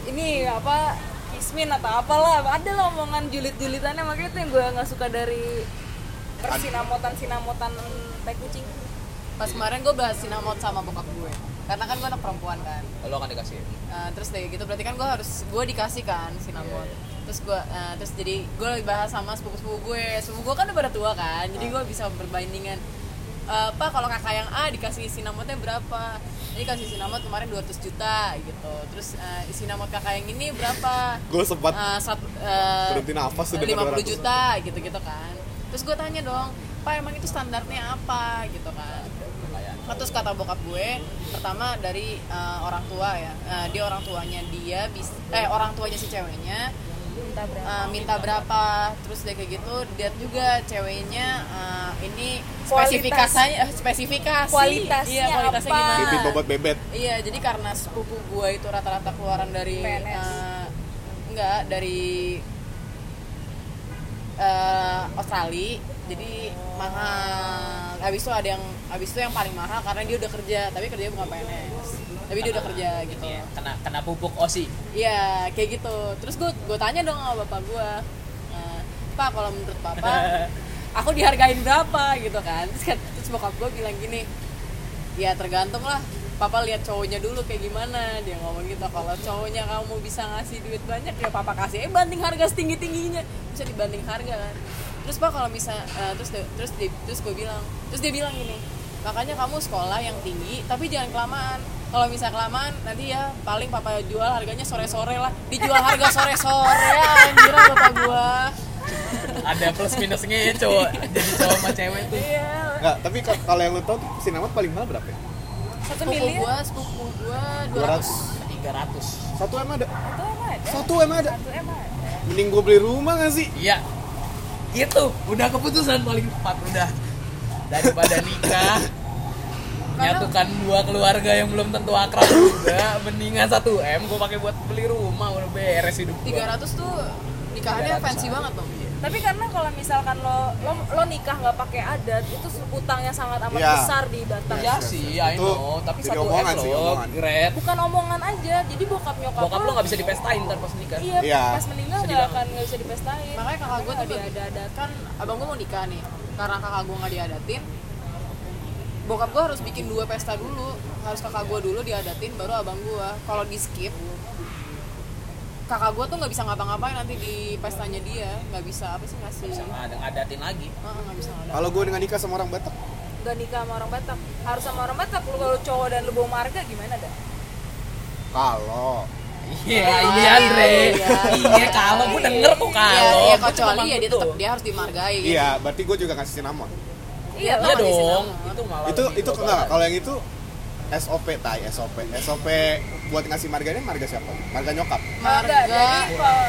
ini apa kismin atau apalah ada lah omongan julit-julitannya makanya itu yang gue nggak suka dari persinamotan sinamotan tai kucing
pas
iya.
kemarin gue bahas sinamot sama bokap gue karena kan gue anak perempuan kan
lo akan dikasih
Eh, terus kayak gitu berarti kan gue harus gue dikasih kan sinamon terus gue eh, terus jadi gue lagi bahas sama sepupu sepupu gue sepupu gue kan udah pada tua kan jadi gue bisa perbandingan Eh, apa kalau kakak yang A dikasih sinamotnya berapa ini kasih sinamot kemarin 200 juta gitu terus eh, sinamot kakak yang ini berapa
gue sempat
Eh, satu, eh,
Berhenti nafas tuh denger
50
200.
juta gitu-gitu kan terus gue tanya dong pak emang itu standarnya apa gitu kan Nah, terus kata bokap gue pertama dari eh, orang tua ya Eh, dia orang tuanya dia bis- eh orang tuanya si ceweknya
entah berapa
eh, minta berapa terus dia kayak gitu lihat juga ceweknya eh, ini
Kualitas.
spesifikasinya eh, spesifikasi
Kualitasnya
iya, kualitasnya
apa?
gimana
bibit bobot bebet
Iya, jadi karena sepupu gue itu rata-rata keluaran dari
PNS.
eh, enggak dari eh, Australia. Jadi mahal. Habis itu ada yang habis itu yang paling mahal karena dia udah kerja, tapi kerjanya bukan PNS. Tapi dia udah kerja gitu.
Iya, kena kena pupuk osi
Iya, kayak gitu. Terus gue gue tanya dong sama bapak gue, "Eh, Pak kalau menurut bapak, aku dihargain berapa gitu kan? Terus, kan- terus bokap gue bilang gini, ya tergantung lah. Papa lihat cowoknya dulu kayak gimana dia ngomong gitu. Kalau cowoknya kamu bisa ngasih duit banyak ya papa kasih. Eh banding harga setinggi tingginya bisa dibanding harga kan. Terus pak kalau bisa eh, terus dia- terus dia- terus gue bilang terus dia bilang gini makanya kamu sekolah yang tinggi tapi jangan kelamaan kalau bisa kelamaan nanti ya paling papa jual harganya sore sore lah dijual harga sore sore <laughs> anjir bapak gua
ada plus minusnya ya cowok jadi cowok sama cewek tuh
nggak tapi ka- kalau yang lu tau tuh sinamot paling mahal berapa ya?
satu
sepupu
miliar
gua sepupu gua 200
200
300
satu emang ada
itu emang ada
satu emang ada
satu emang ada
mending gue beli rumah gak sih
Iya. Itu udah keputusan paling tepat udah. Daripada nikah nyatukan dua keluarga yang belum tentu akrab juga mendingan 1 M gue pakai buat beli rumah udah beres hidup gua.
300 tuh
300.
nikahannya fancy banget dong
tapi karena kalau misalkan lo lo, lo nikah nggak pakai adat itu utangnya sangat amat
Iya.
besar di Batam
ya sih I
Itu
know tapi 1
jadi omongan
M
sih,
loh
omongan.
Gret
bukan omongan aja jadi bokap nyokap
bokap lo nggak bisa dipestain ntar pas nikah
iya
Iya.
pas meninggal
Sedih
nggak
banget.
akan nggak bisa dipestain
makanya kakak gue
Karena
tadi
nggak
ada
ada adat
kan abang gue mau nikah nih karena kakak gue nggak diadatin bokap gue harus bikin dua pesta dulu harus kakak gue dulu diadatin baru abang gue kalau di skip kakak gue tuh nggak bisa ngapa-ngapain nanti di pestanya dia nggak bisa apa sih ngasih
sama ada ngadatin lagi
Heeh, nggak bisa ngadatin
kalau gue dengan nikah sama orang Batak
nggak nikah sama orang Batak harus sama orang Batak lu kalau cowok dan lu bawa marga gimana dah
kalau
iya iya Andre
iya.
iya kalau gue denger kok
Iya,
kalau
iya,
Gua tuh
kecuali
emang
ya dia
betul.
tetap dia harus dimargai.
iya berarti gue juga ngasih sinamot
iya
iya
Tetap masih
dong
sinamon.
itu malah
itu
lebih
itu
global.
enggak kalau yang itu SOP tai SOP SOP buat ngasih marganya marga siapa marga nyokap
marga
Marga.
jadi kalau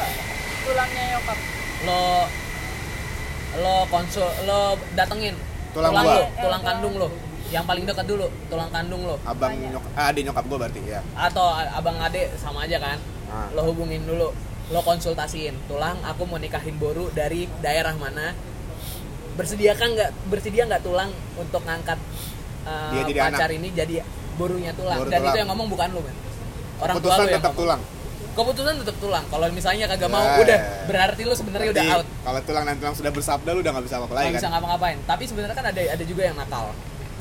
tulangnya nyokap
lo lo konsul lo datengin
Tulang gua.
tulang kandung lo. Yang paling dekat dulu, tulang kandung lo.
Abang nyok, ah, adik nyokap gua berarti ya.
Atau a- abang ade sama aja kan.
Ah.
Lo hubungin dulu, lo konsultasiin. Tulang, aku mau nikahin boru dari daerah mana? Bersediakah nggak bersedia nggak tulang untuk ngangkat uh,
Dia jadi
pacar
anak.
ini jadi borunya tulang.
Boru
Dan
tulang.
itu yang ngomong bukan lo kan. Orang tua
Keputusan
lo yang
tetap
ngomong.
tulang.
Keputusan tetap tulang. Kalau misalnya kagak mau,
Ya.
udah berarti lo sebenarnya ya, udah
Berarti
out.
Kalau tulang dan tulang sudah bersabda lu udah nggak bisa apa-apa lagi
nggak bisa
kan.
ngapa-ngapain tapi sebenarnya kan ada ada juga yang nakal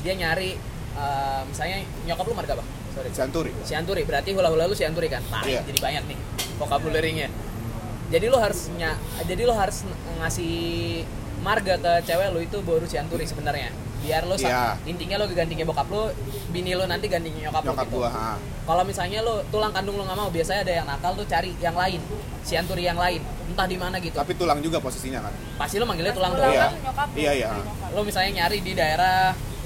dia nyari eh, misalnya nyokap lu marga bang sorry
Santuri.
sianturi berarti hula hula lu sianturi kan Nah,
Iya.
jadi banyak nih vocabulary-nya jadi lu harusnya jadi lu harus ng- ngasih marga ke cewek lu itu baru sianturi sebenarnya biar lu sa-
Iya.
intinya lu gantinya bokap lu bini lu nanti gantinya nyokap,
Nyokap
lu gitu
gua, ha.
kalau misalnya lu tulang kandung lu nggak mau biasanya ada yang nakal tuh cari yang lain sianturi yang lain entah di mana gitu
Tapi tulang juga posisinya kan.
pasti lu manggilnya tulang ya,
Tulang
doang
Iya.
kan nyokap
Iya, iya.
lo misalnya nyari di daerah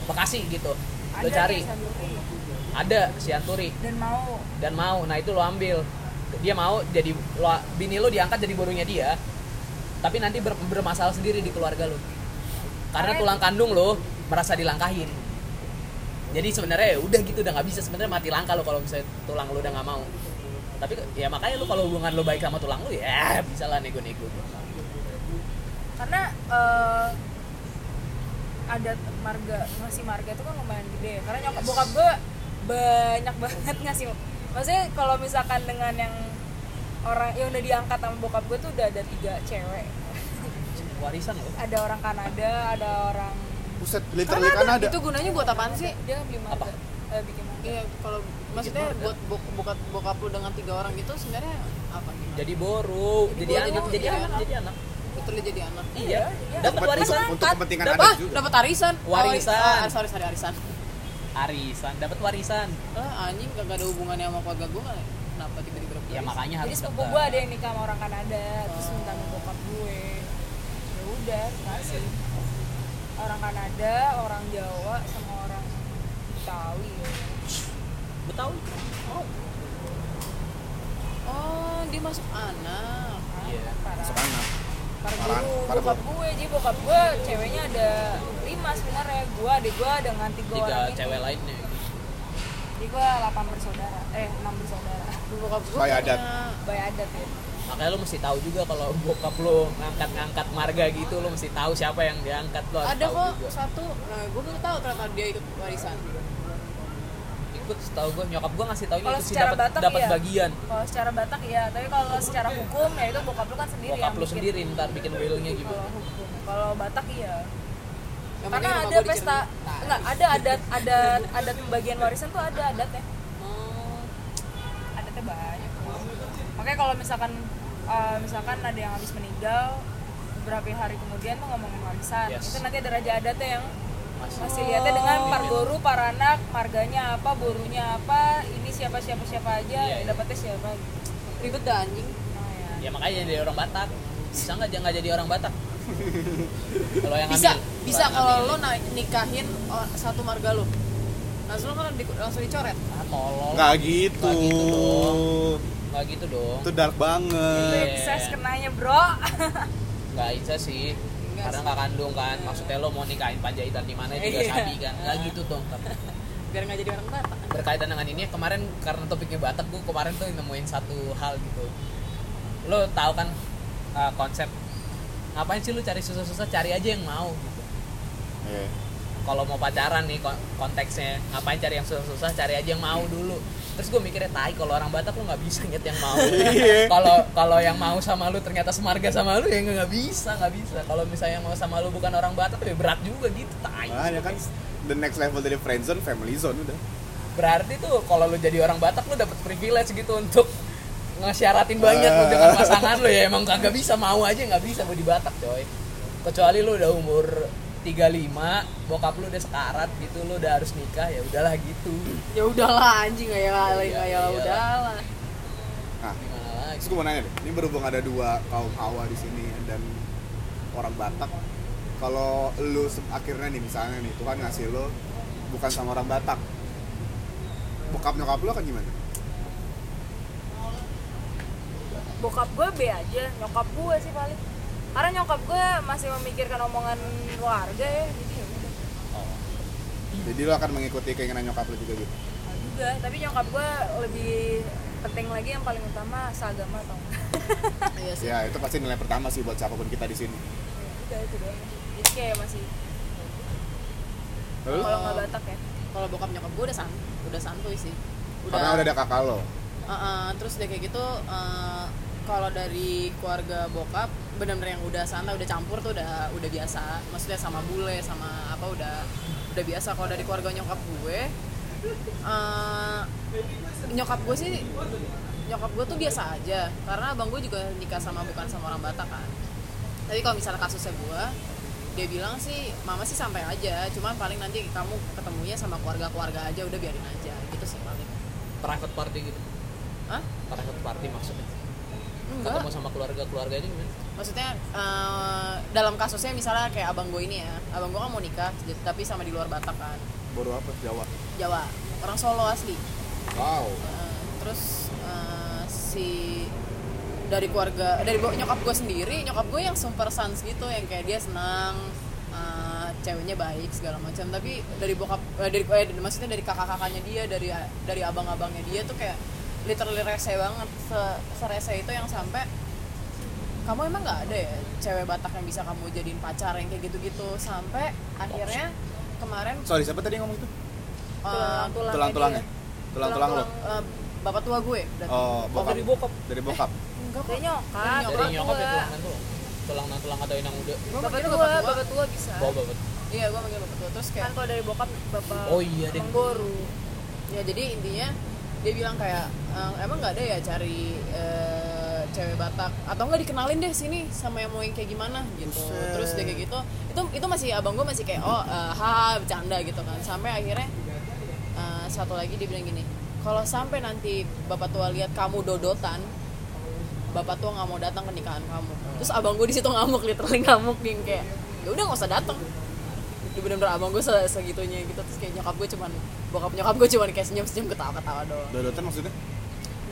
Bekasi gitu lo cari ada sianturi
dan mau
dan mau nah itu lo ambil dia mau jadi lo bini lo diangkat jadi borunya dia tapi nanti ber- bermasalah sendiri di keluarga lo karena tulang kandung lo merasa dilangkahin jadi sebenarnya ya udah gitu udah nggak bisa sebenarnya mati langkah lo kalau misalnya tulang lo udah nggak mau tapi ya makanya lo kalau hubungan lo baik sama tulang lo ya bisa lah nego-nego
karena eh, ada marga ngasih marga itu kan lumayan gede ya karena nyokap bokap gue banyak banget ngasih maksudnya kalau misalkan dengan yang orang yang udah diangkat sama bokap gue tuh udah ada tiga cewek
warisan lo
ada orang Kanada ada orang
Buset, literally kan ada.
Itu gunanya buat apaan sih?
dia beli marga
Apa?
eh, bikin marga
Iya, kalau maksudnya buat bok- bokap bokap lu dengan tiga orang gitu sebenarnya apa gimana?
jadi boru jadi,
boru,
anak jadi,
jadi
anak
anak.
jadi anak
Betul jadi anak.
Iya, dapat
Untuk-
warisan.
untuk- untuk kepentingan
Dapat
anak
Wah,
juga.
dapat arisan.
Warisan.
Oh, i- ah, sorry, sorry arisan.
arisan, dapat warisan.
Ah, anjing kagak ada hubungannya sama keluarga gue kan. Kenapa tiba-tiba dapat
Ya
arisan?
makanya
jadi
harus Oh.
sepupu
dapet.
gue ada yang nikah sama orang Kanada terus minta sama bokap gue ya udah kasih orang Kanada orang Jawa sama orang Betawi
Betawi.
Oh, dia masuk anak.
Iya.
para
Masuk anak.
para
Parah,
guru
parah,
bokap gue jadi bokap gue ceweknya ada lima sebenarnya gue adik gue dengan tiga,
Tiga
orang gitu.
cewek
ini
lainnya.
jadi gue delapan bersaudara eh enam bersaudara <laughs>
Bokap gue
Supaya adat.
by adat ya
Makanya lo mesti tahu juga kalau bokap lo ngangkat-ngangkat marga gitu, lo mesti tahu siapa yang diangkat lo. harus
ada
tahu
kok
juga.
satu nah gue baru tahu ternyata dia ikut warisan
Ikut setahu gue nyokap gue ngasih taunya
kalau
itu sih
secara
dapat
Batak
dapat
ya
bagian.
kalau secara Batak ya tapi kalau secara hukum ya itu bokap lu kan sendiri
Bokap
yang
lo
bikin.
sendiri ntar bikin willnya gitu.
kalau hukum kalau Batak iya
Yang
karena
penting rumah
ada
gua di
pesta
Cirebon.
enggak ada adat adat adat pembagian warisan tuh ada adatnya
Oh,
adatnya banyak kok. makanya kalau misalkan eh, misalkan ada yang habis meninggal beberapa hari kemudian tuh ngomongin warisan
Yes. Iya.
itu nanti ada raja adatnya yang
Masih.
masih lihatnya dengan pargoru para anak marganya apa borunya apa ini siapa siapa siapa aja
Iya, iya.
dapatnya siapa gitu.
ribet dah anjing
Nah, ya.
Ya makanya jadi orang Batak. Bisa nggak jangan jadi orang Batak? Kalau yang
bisa
ngambil,
bisa
yang
kalau
ngambil.
lo na- nikahin o- satu marga lo langsung lo kan di- langsung dicoret
ah, tolol.
Nggak gitu.
Nggak gitu dong. Nggak gitu dong.
Itu dark banget.
Iya.
Sukses kenanya bro <laughs>
nggak bisa sih karena nggak kandung kan maksudnya lo mau nikahin panjaitan di mana juga sabi kan nggak gitu <laughs> dong
biar nggak jadi orang batak
berkaitan dengan ini kemarin karena topiknya batak gue kemarin tuh nemuin satu hal gitu lo tahu kan uh, konsep ngapain sih lo cari susah-susah cari aja yang mau gitu
Iya.
kalau mau pacaran nih kon- konteksnya ngapain cari yang susah-susah cari aja yang mau dulu terus gue mikirnya tai kalau orang Batak lu nggak bisa nyet yang mau
<laughs> Iya.
kalau kalau yang mau sama lu ternyata semarga sama lu ya nggak bisa nggak bisa kalau misalnya mau sama lu bukan orang Batak ya berat juga gitu tai
Nah, ya kan the next level dari friendzone family zone udah.
berarti tuh kalau lu jadi orang Batak lu dapet privilege gitu untuk ngesyaratin banyak lu dengan pasangan lu ya emang kagak bisa mau aja nggak bisa mau di Batak coy kecuali lu udah umur 35 bokap lu udah sekarat gitu lu udah harus nikah ya udahlah gitu
ya udahlah anjing ya ya
Iya,
ya
iyalah.
udahlah
Nah,
gimana
terus
lagi
gue mau nanya deh, ini berhubung ada dua kaum Hawa di sini dan orang Batak. Kalau lu se- akhirnya nih misalnya nih Tuhan ngasih lu bukan sama orang Batak. Bokap nyokap lu akan gimana?
bokap gue B aja nyokap gue sih paling karena nyokap gue masih memikirkan omongan warga ya jadi ya udah.
Jadi lo akan mengikuti keinginan nyokap lo juga gitu.
Nah, juga tapi nyokap gue lebih penting lagi yang paling utama seagama atau enggak <laughs>
Iya sih.
Ya itu pasti nilai pertama sih buat siapapun kita di sini.
Ya, udah itu doang jadi kayak masih
Lalu?
kalau nggak batak ya
Kalau bokap nyokap gue udah san, udah santuy sih.
Karena udah ada kakak lo.
Uh, uh, terus udah kayak gitu uh, kalau dari keluarga bokap benar-benar yang udah santai udah campur tuh udah udah biasa maksudnya sama bule sama apa udah udah biasa kalau dari keluarga nyokap gue uh, nyokap gue sih nyokap gue tuh biasa aja karena abang gue juga nikah sama bukan sama orang Batak kan tapi kalau misalnya kasusnya gue dia bilang sih mama sih sampai aja cuman paling nanti kamu ketemunya sama keluarga-keluarga aja udah biarin aja gitu sih paling
private party gitu
Hah?
private party maksudnya
Enggak.
ketemu sama keluarga keluarganya gimana
maksudnya eh, dalam kasusnya misalnya kayak abang gue ini ya abang gue kan mau nikah j- tapi sama di luar Batak kan
Baru apa? Jawa.
Jawa orang Solo asli
Wow.
Eh, terus eh, si dari keluarga dari bo- nyokap gue sendiri nyokap gue yang super sans gitu yang kayak dia senang eh, ceweknya baik segala macam tapi dari bokap eh, dari eh, maksudnya dari kakak-kakaknya dia dari eh, dari abang-abangnya dia tuh kayak literally rese banget Se- serese itu yang sampai kamu emang nggak ada ya cewek Batak yang bisa kamu jadiin pacar yang kayak gitu-gitu sampai akhirnya kemarin
Sorry siapa tadi ngomong itu?
eh,
Tulangnya
Tulang-tulangnya.
dia.
Tulang-tulang lo.
eh, bapak tua gue berarti.
Oh, bokap.
dari bokap
Dari Eh. bokap.
enggak kok nyokap
dari
bapak
nyokap ya
tua
tulang tulang tulang tulang atau yang udah
Gue
bapak
manggilnya
tua
bapak tua.
bapak tua bisa
bawa bawa
Iya, gue manggil bapak tua. Terus
kan
kayak
kalau dari bokap bapak
Oh iya deh.
menggoru
ya jadi intinya dia bilang kayak "Eh, emang nggak ada ya cari eh, cewek Batak atau nggak dikenalin deh sini sama yang mau yang kayak gimana gitu.
Buset.
Terus dia kayak gitu. Itu itu masih abang gue masih kayak oh eh, haha bercanda gitu kan. Sampai akhirnya eh, satu lagi dia bilang gini, kalau sampai nanti bapak tua lihat kamu dodotan bapak tua nggak mau datang ke nikahan kamu terus abang gue di situ ngamuk literally ngamuk geng kayak ya udah nggak usah datang Dia bener-bener abang gue se- segitunya gitu terus kayak nyokap gue cuman bokap nyokap gue cuman kayak senyum senyum ketawa ketawa doang
Dodotan maksudnya?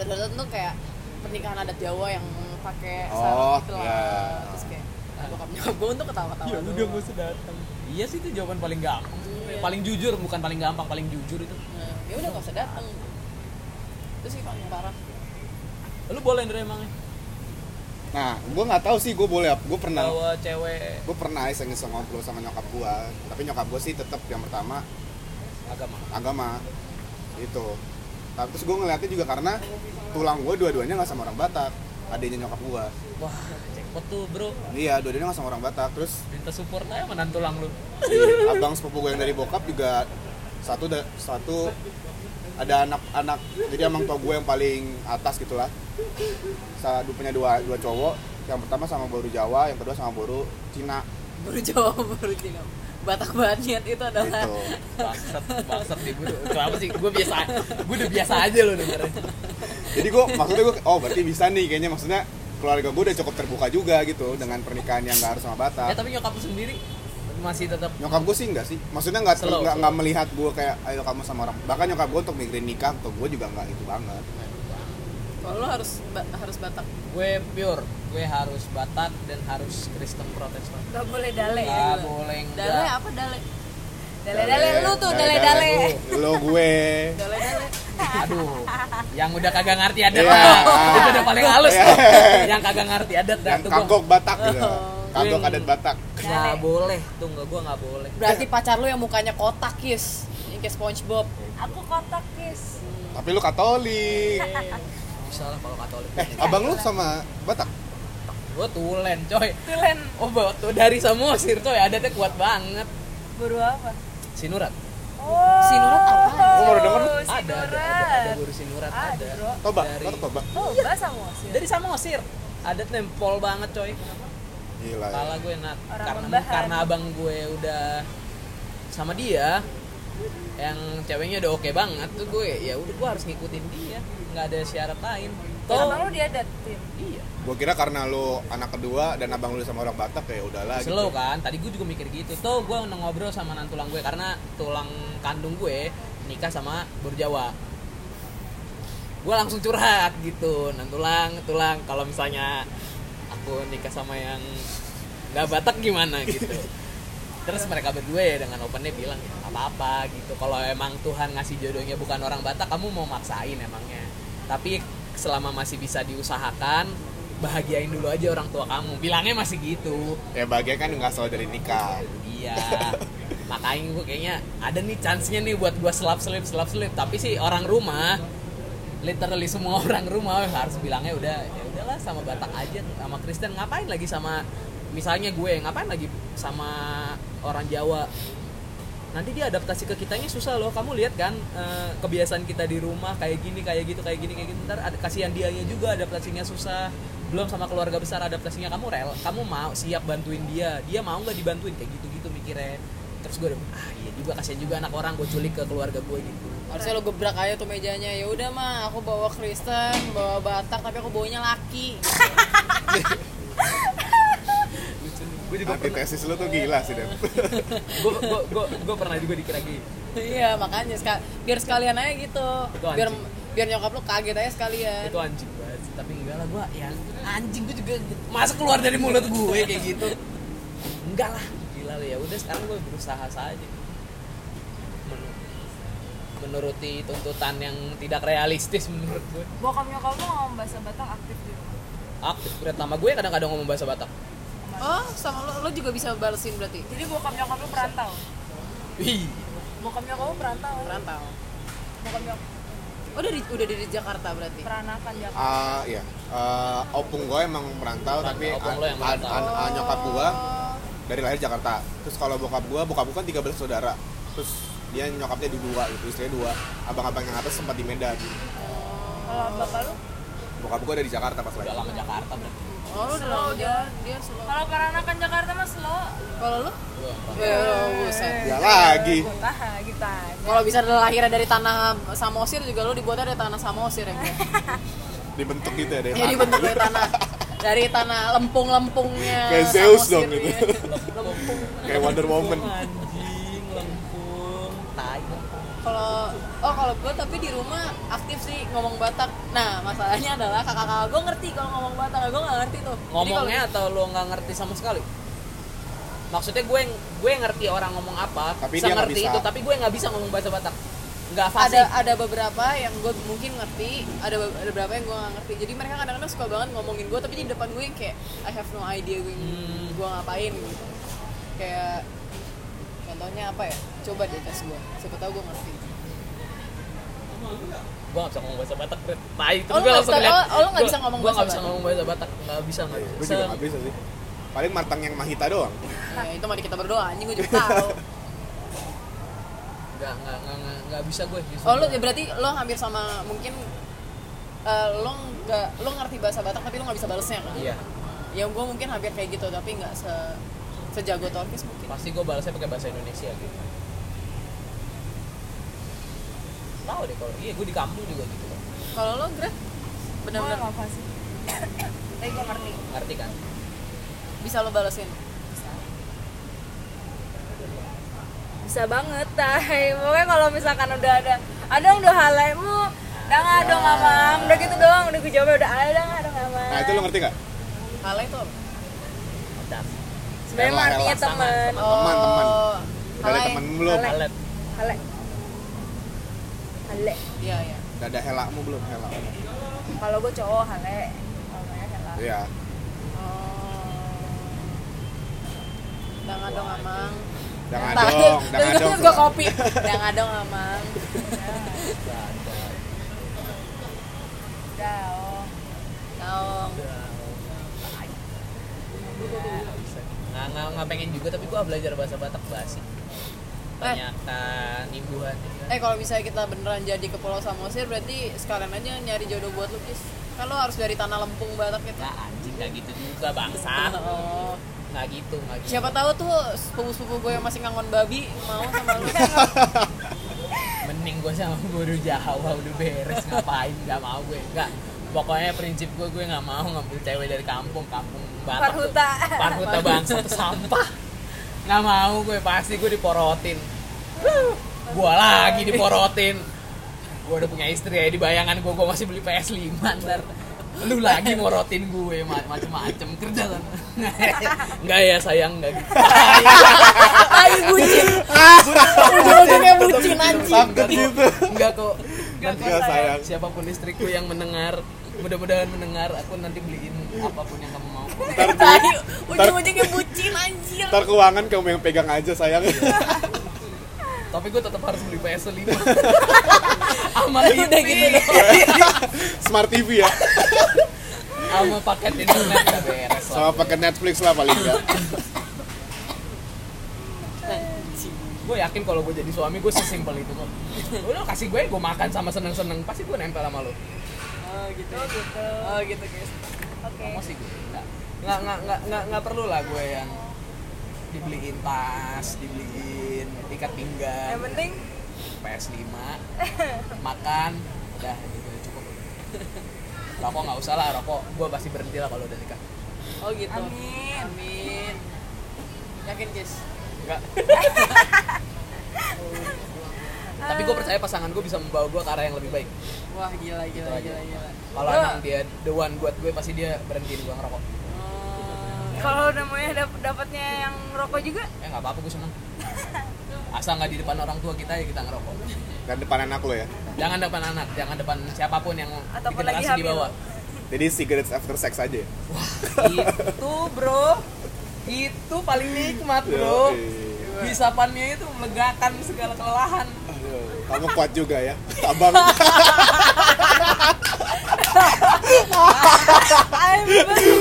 dan dan tuh kayak pernikahan adat Jawa yang pakai
Oh,
sarung gitu lah
iya.
terus kayak bokap nyokap gue tuh ketawa
Iya,
ketawa doang
usah datang iya sih itu jawaban paling gampang paling jujur bukan paling gampang paling jujur itu
Nah, ya udah nggak usah datang itu sih paling parah
lu boleh Andre emangnya
Nah, gue nggak tahu sih gue boleh apa. Gue
Nah.
pernah
bawa cewek
gue pernah iseng-iseng ngobrol sama nyokap gue tapi nyokap gue sih tetap yang pertama
agama
agama itu tapi terus gue ngeliatnya juga karena tulang gue dua-duanya nggak sama orang Batak adiknya nyokap gue
wah jackpot tuh bro
iya dua-duanya nggak sama orang Batak terus
minta support aja menan tulang lu
si abang sepupu gue yang dari bokap juga satu da- satu ada anak-anak jadi abang tua gue yang paling atas gitulah satu punya dua dua cowok yang pertama sama baru Jawa yang kedua sama baru Cina
baru Jawa <laughs> baru Cina Batak banget niat itu adalah
gitu
bangsat bangsat nih gue kenapa sih gue biasa gue udah biasa aja lu dengerin
jadi gue maksudnya gue oh berarti bisa nih kayaknya maksudnya keluarga gue udah cukup terbuka juga gitu dengan pernikahan yang gak harus sama
ya
Batak
tapi nyokap lu sendiri masih tetap
nyokap gue sih enggak sih maksudnya nggak
Slow,
nggak
slow.
nggak melihat gue kayak ayo kamu sama orang bahkan nyokap gue untuk mikirin nikah untuk gue juga nggak itu banget
kalau lo harus ba- harus Batak
gue pure gue harus Batak dan harus Kristen Protestan
nggak boleh dale ya
nggak boleh
Dale
enggak
apa dale?
dale dale lu tuh dale dale
lu, lo gue
Dale dale.
aduh yang udah kagak ngerti adat
Iya.
lah <laughs> itu udah paling halus
Iya.
tuh. yang kagak ngerti adat dah
yang
tuh gue
kagok Batak gitu kagok
Yang-
adat Batak
nggak boleh tuh nggak gue nggak boleh
Berarti pacar lu yang mukanya kotak, Yus. Yang kayak SpongeBob.
aku kotak guys
tapi lu Katolik
bisa lah kalau Katolik
eh abang lu sama Batak
gue tulen coy
tulen
oh bawa tuh dari Samosir coy adatnya kuat banget
baru apa
sinurat
oh
Sinurat apa?
Gua baru denger.
ada
sinurat
ada ada, ada guru sinurat ada
bro.
Toba
Dari-
Batak Toba
oh bahasa Mosir
dari Samosir adat nempol banget coy
gila ya.
Kepala gue enak
Orang
karena
rebahan.
karena abang gue udah sama dia yang ceweknya udah oke banget tuh gue ya udah gue harus ngikutin dia nggak ada syarat lain
Tuh.
toh
Abang lu diadatin.
iya
gue kira karena lu anak kedua dan abang lu sama orang Batak ya udahlah gitu
slow kan tadi gue juga mikir gitu tuh gue ngobrol sama nantulang gue karena tulang kandung gue nikah sama berjawa gue langsung curhat gitu nantulang tulang kalau misalnya aku nikah sama yang nggak batak gimana gitu terus mereka berdua ya dengan opennya bilang ya nggak apa-apa gitu kalau emang Tuhan ngasih jodohnya bukan orang Batak kamu mau maksain emangnya tapi selama masih bisa diusahakan bahagiain dulu aja orang tua kamu bilangnya masih gitu
ya bahagia kan nggak selalu dari nikah
iya makanya gue kayaknya ada nih chance nya nih buat gue selap selip selap selip tapi sih orang rumah literally semua <laughs> orang rumah harus bilangnya udah ya udahlah sama Batak aja sama Kristen ngapain lagi sama misalnya gue ngapain lagi sama orang Jawa nanti dia adaptasi ke kitanya susah loh kamu lihat kan eh, kebiasaan kita di rumah kayak gini kayak gitu kayak gini kayak gitu ntar ada- kasihan dianya juga adaptasinya susah belum sama keluarga besar adaptasinya kamu rel kamu mau siap bantuin dia dia mau nggak dibantuin kayak gitu gitu mikirnya terus gue udah, ah iya juga kasihan juga anak orang gue culik ke keluarga gue gitu
harusnya lo gebrak aja tuh mejanya ya udah mah aku bawa Kristen bawa Batak tapi aku bawanya laki <laughs>
gue juga pernah
antitesis lu tuh gila sih Dem
gue pernah juga dikira gitu
iya makanya seka- biar sekalian aja gitu
Itu
biar
anjing.
biar nyokap lo kaget aja sekalian
itu anjing banget sih. tapi enggak lah gue ya anjing gue juga gitu. masa keluar dari mulut gue kayak gitu enggak lah gila lah ya udah sekarang gue berusaha saja Men- menuruti tuntutan yang tidak realistis menurut gue
Bokap nyokap lu ngomong bahasa Batak aktif di rumah.
aktif berat lama gue kadang-kadang ngomong bahasa Batak
oh sama lo lo juga bisa balesin berarti
Jadi bokap nyokap lu perantau.
Wih,
Bokap nyokap lu perantau.
perantau
Bokap nyokap
oh udah di, udah dari Jakarta berarti
peranakan ya. Jakarta.
<laughs> Ah, iya Eh, opung gue emang merantau tapi
Opung lo yang
an-
merantau.
an- an- nyokap gue dari lahir Jakarta terus kalau bokap gue bokap gue kan 13 saudara terus dia nyokapnya di dua gitu istrinya dua abang-abang yang atas sempat di Medan
Kalau bapak lu,
bokap gue ada di Jakarta pas
udah
lagi
lama Jakarta berarti
oh lo udah lama dia dia slow
kalau peranakan Jakarta mas lo
kalau lo
Gue
ya buset
Eh,
ya lagi
taha gitu aja.
kalau bisa lahirnya dari tanah Samosir juga lo dibuatnya dari tanah Samosir ya Bre?
dibentuk gitu ya dari
jadi bentuk dari tanah dari tanah lempung-lempungnya
Kayak Zeus
Samosir
dong
ya.
gitu.
lempung
<laughs> kayak Wonder Woman
anjing lempung tai
kalau oh kalau gue tapi di rumah aktif sih ngomong Batak nah masalahnya adalah kakak-kakak gue ngerti kalau ngomong Batak gue nggak ngerti tuh Jadi kalau-
ngomongnya atau lo nggak ngerti sama sekali maksudnya gue gue ngerti orang ngomong apa
Tapi
bisa
dia nggak
ngerti
bisa.
itu tapi gue nggak bisa ngomong bahasa Batak nggak fasih
ada ada beberapa yang gue mungkin ngerti ada be- ada beberapa yang gue nggak ngerti jadi mereka kadang-kadang suka banget ngomongin gue tapi di depan gue yang kayak I have no idea gue
Hmm.
gue ngapain gitu kayak contohnya apa ya coba deh tes gue siapa tahu gue ngerti
gue nggak bisa ngomong bahasa Batak Bret. tai itu
Oh, lu
gue
nggak
langsung
bisa-
liat.
oh, oh, lu nggak
Gue-
bisa ngomong
gue nggak
bahasa
bisa ngomong bahasa Batak nggak bisa nggak
gue
bisa
Iya, juga nggak bisa sih paling martang yang mahita doang
ya, itu mari kita berdoa anjing gue juga tahu
nggak nggak nggak- nggak- nggak bisa gue justru.
oh lu ya berarti lo hampir sama mungkin eh, lo nggak lo ngerti bahasa Batak tapi lo nggak bisa balesnya kan
iya
ya gue mungkin hampir kayak gitu tapi nggak se sejago Torkis mungkin
pasti gue balasnya pakai bahasa Indonesia gitu tahu deh kalau iya gue di kampung juga gitu kan.
kalau lo Gret
Gue
benar-benar
nggak fasih. Tapi gue ngerti.
ngerti kan
bisa lo balesin
Bisa banget, tay. Pokoknya kalau misalkan udah ada, ada udah halaimu, udah nggak ada nggak mam, udah gitu doang, udah gue jawabnya udah ada nggak ada nggak mam.
Ya. nah itu lo ngerti nggak
Kala itu apa?
udah
Sebenarnya mah
Rela,
artinya
rela,
teman.
teman teman
Oh,
udah ada
halai.
temen belum
Halai.
Alet.
Hale. Hale.
Iya, iya.
udah ada helakmu belum helak
Kalau gue cowok hale. Kalau ya, cewek hela.
iya
Oh. Dang adong amang.
Dang
Tah,
adong, dang
dari
adong.
dulu juga kopi. Dang adong amang.
Udah, oh.
Taong.
nggak nggak nggak pengen juga tapi gue belajar bahasa Batak basi banyakkan imbuhan
Eh kalau misalnya kita beneran jadi ke Pulau Samosir berarti sekalian aja nyari jodoh buat lu, Kis. Kan lo harus dari tanah lempung Batak gitu.
nggak anjing nggak gitu juga bangsa
Oh.
nggak gitu nggak gitu
Siapa tahu tuh sepupu-sepupu gue yang masih ngangon babi mau sama lu.
mending gue sama guru Jawa udah beres ngapain nggak mau gue nggak pokoknya prinsip gue gue nggak mau ngambil cewek dari kampung kampung Batak tuh.
Parhuta.
Parhuta bangsa tuh sampah nggak mau gue pasti gue diporotin Huh, gue lagi diporotin gue udah punya istri ya di bayangan gue gue masih beli PS 5 ntar lu lagi morotin gue ma- macem-macem kerja kan nggak ya sayang nggak gitu
Ayo bucin. Ujung-ujungnya bucin anjing.
Takut gitu.
nggak kok nanti
Nggak, sayang.
siapapun istriku yang mendengar mudah-mudahan mendengar aku nanti beliin apapun yang kamu mau
Ayo, ujung-ujungnya bucin anjir.
Ntar keuangan kamu yang pegang aja sayang.
tapi gue tetap harus beli PS 5 sama
Udah gitu
TV
Smart TV ya.
sama paket internet nggak beres
Sama pakai Netflix lah paling enggak.
gue yakin kalau gue jadi suami gue sesimpel itu kok udah kasih gue gue makan sama seneng-seneng pasti gue nempel sama lo
oh gitu oh gitu
Oh gitu guys.
oke
Emosi gue nggak nggak nggak nggak nggak nggak perlu lah gue yang dibeliin tas dibeliin ikat
yang
pinggang
penting
PS
<laughs>
5 makan udah gitu cukup <laughs> rokok nggak usah lah rokok gue pasti berhenti lah kalau udah nikah
Oh gitu.
Amin.
Amin. Yakin guys.
Enggak. <laughs> Tapi gue percaya pasangan gue bisa membawa gue ke arah yang lebih baik. Gitu
Wah gila gila
aja.
gila gila.
Kalau
Lo-
emang dia the one buat gue pasti dia berhentiin gue ngerokok.
Oh.
kalau namanya dap- dapatnya yang rokok juga <laughs>
Ya nggak apa-apa gue
<laughs>
seneng. Asal nggak di depan orang tua kita ya kita ngerokok.
Dan depan anak lo ya.
Jangan depan anak, jangan depan siapapun yang
Ataupun
kita
lagi
kasih di
hamil.
bawah.
Jadi cigarettes after sex aja. ya?
Itu bro, itu paling nikmat bro.
iya, Yoi.
Hisapannya itu melegakan segala kelelahan.
Aduh, iya. kamu kuat juga ya. Abang.
I'm batuk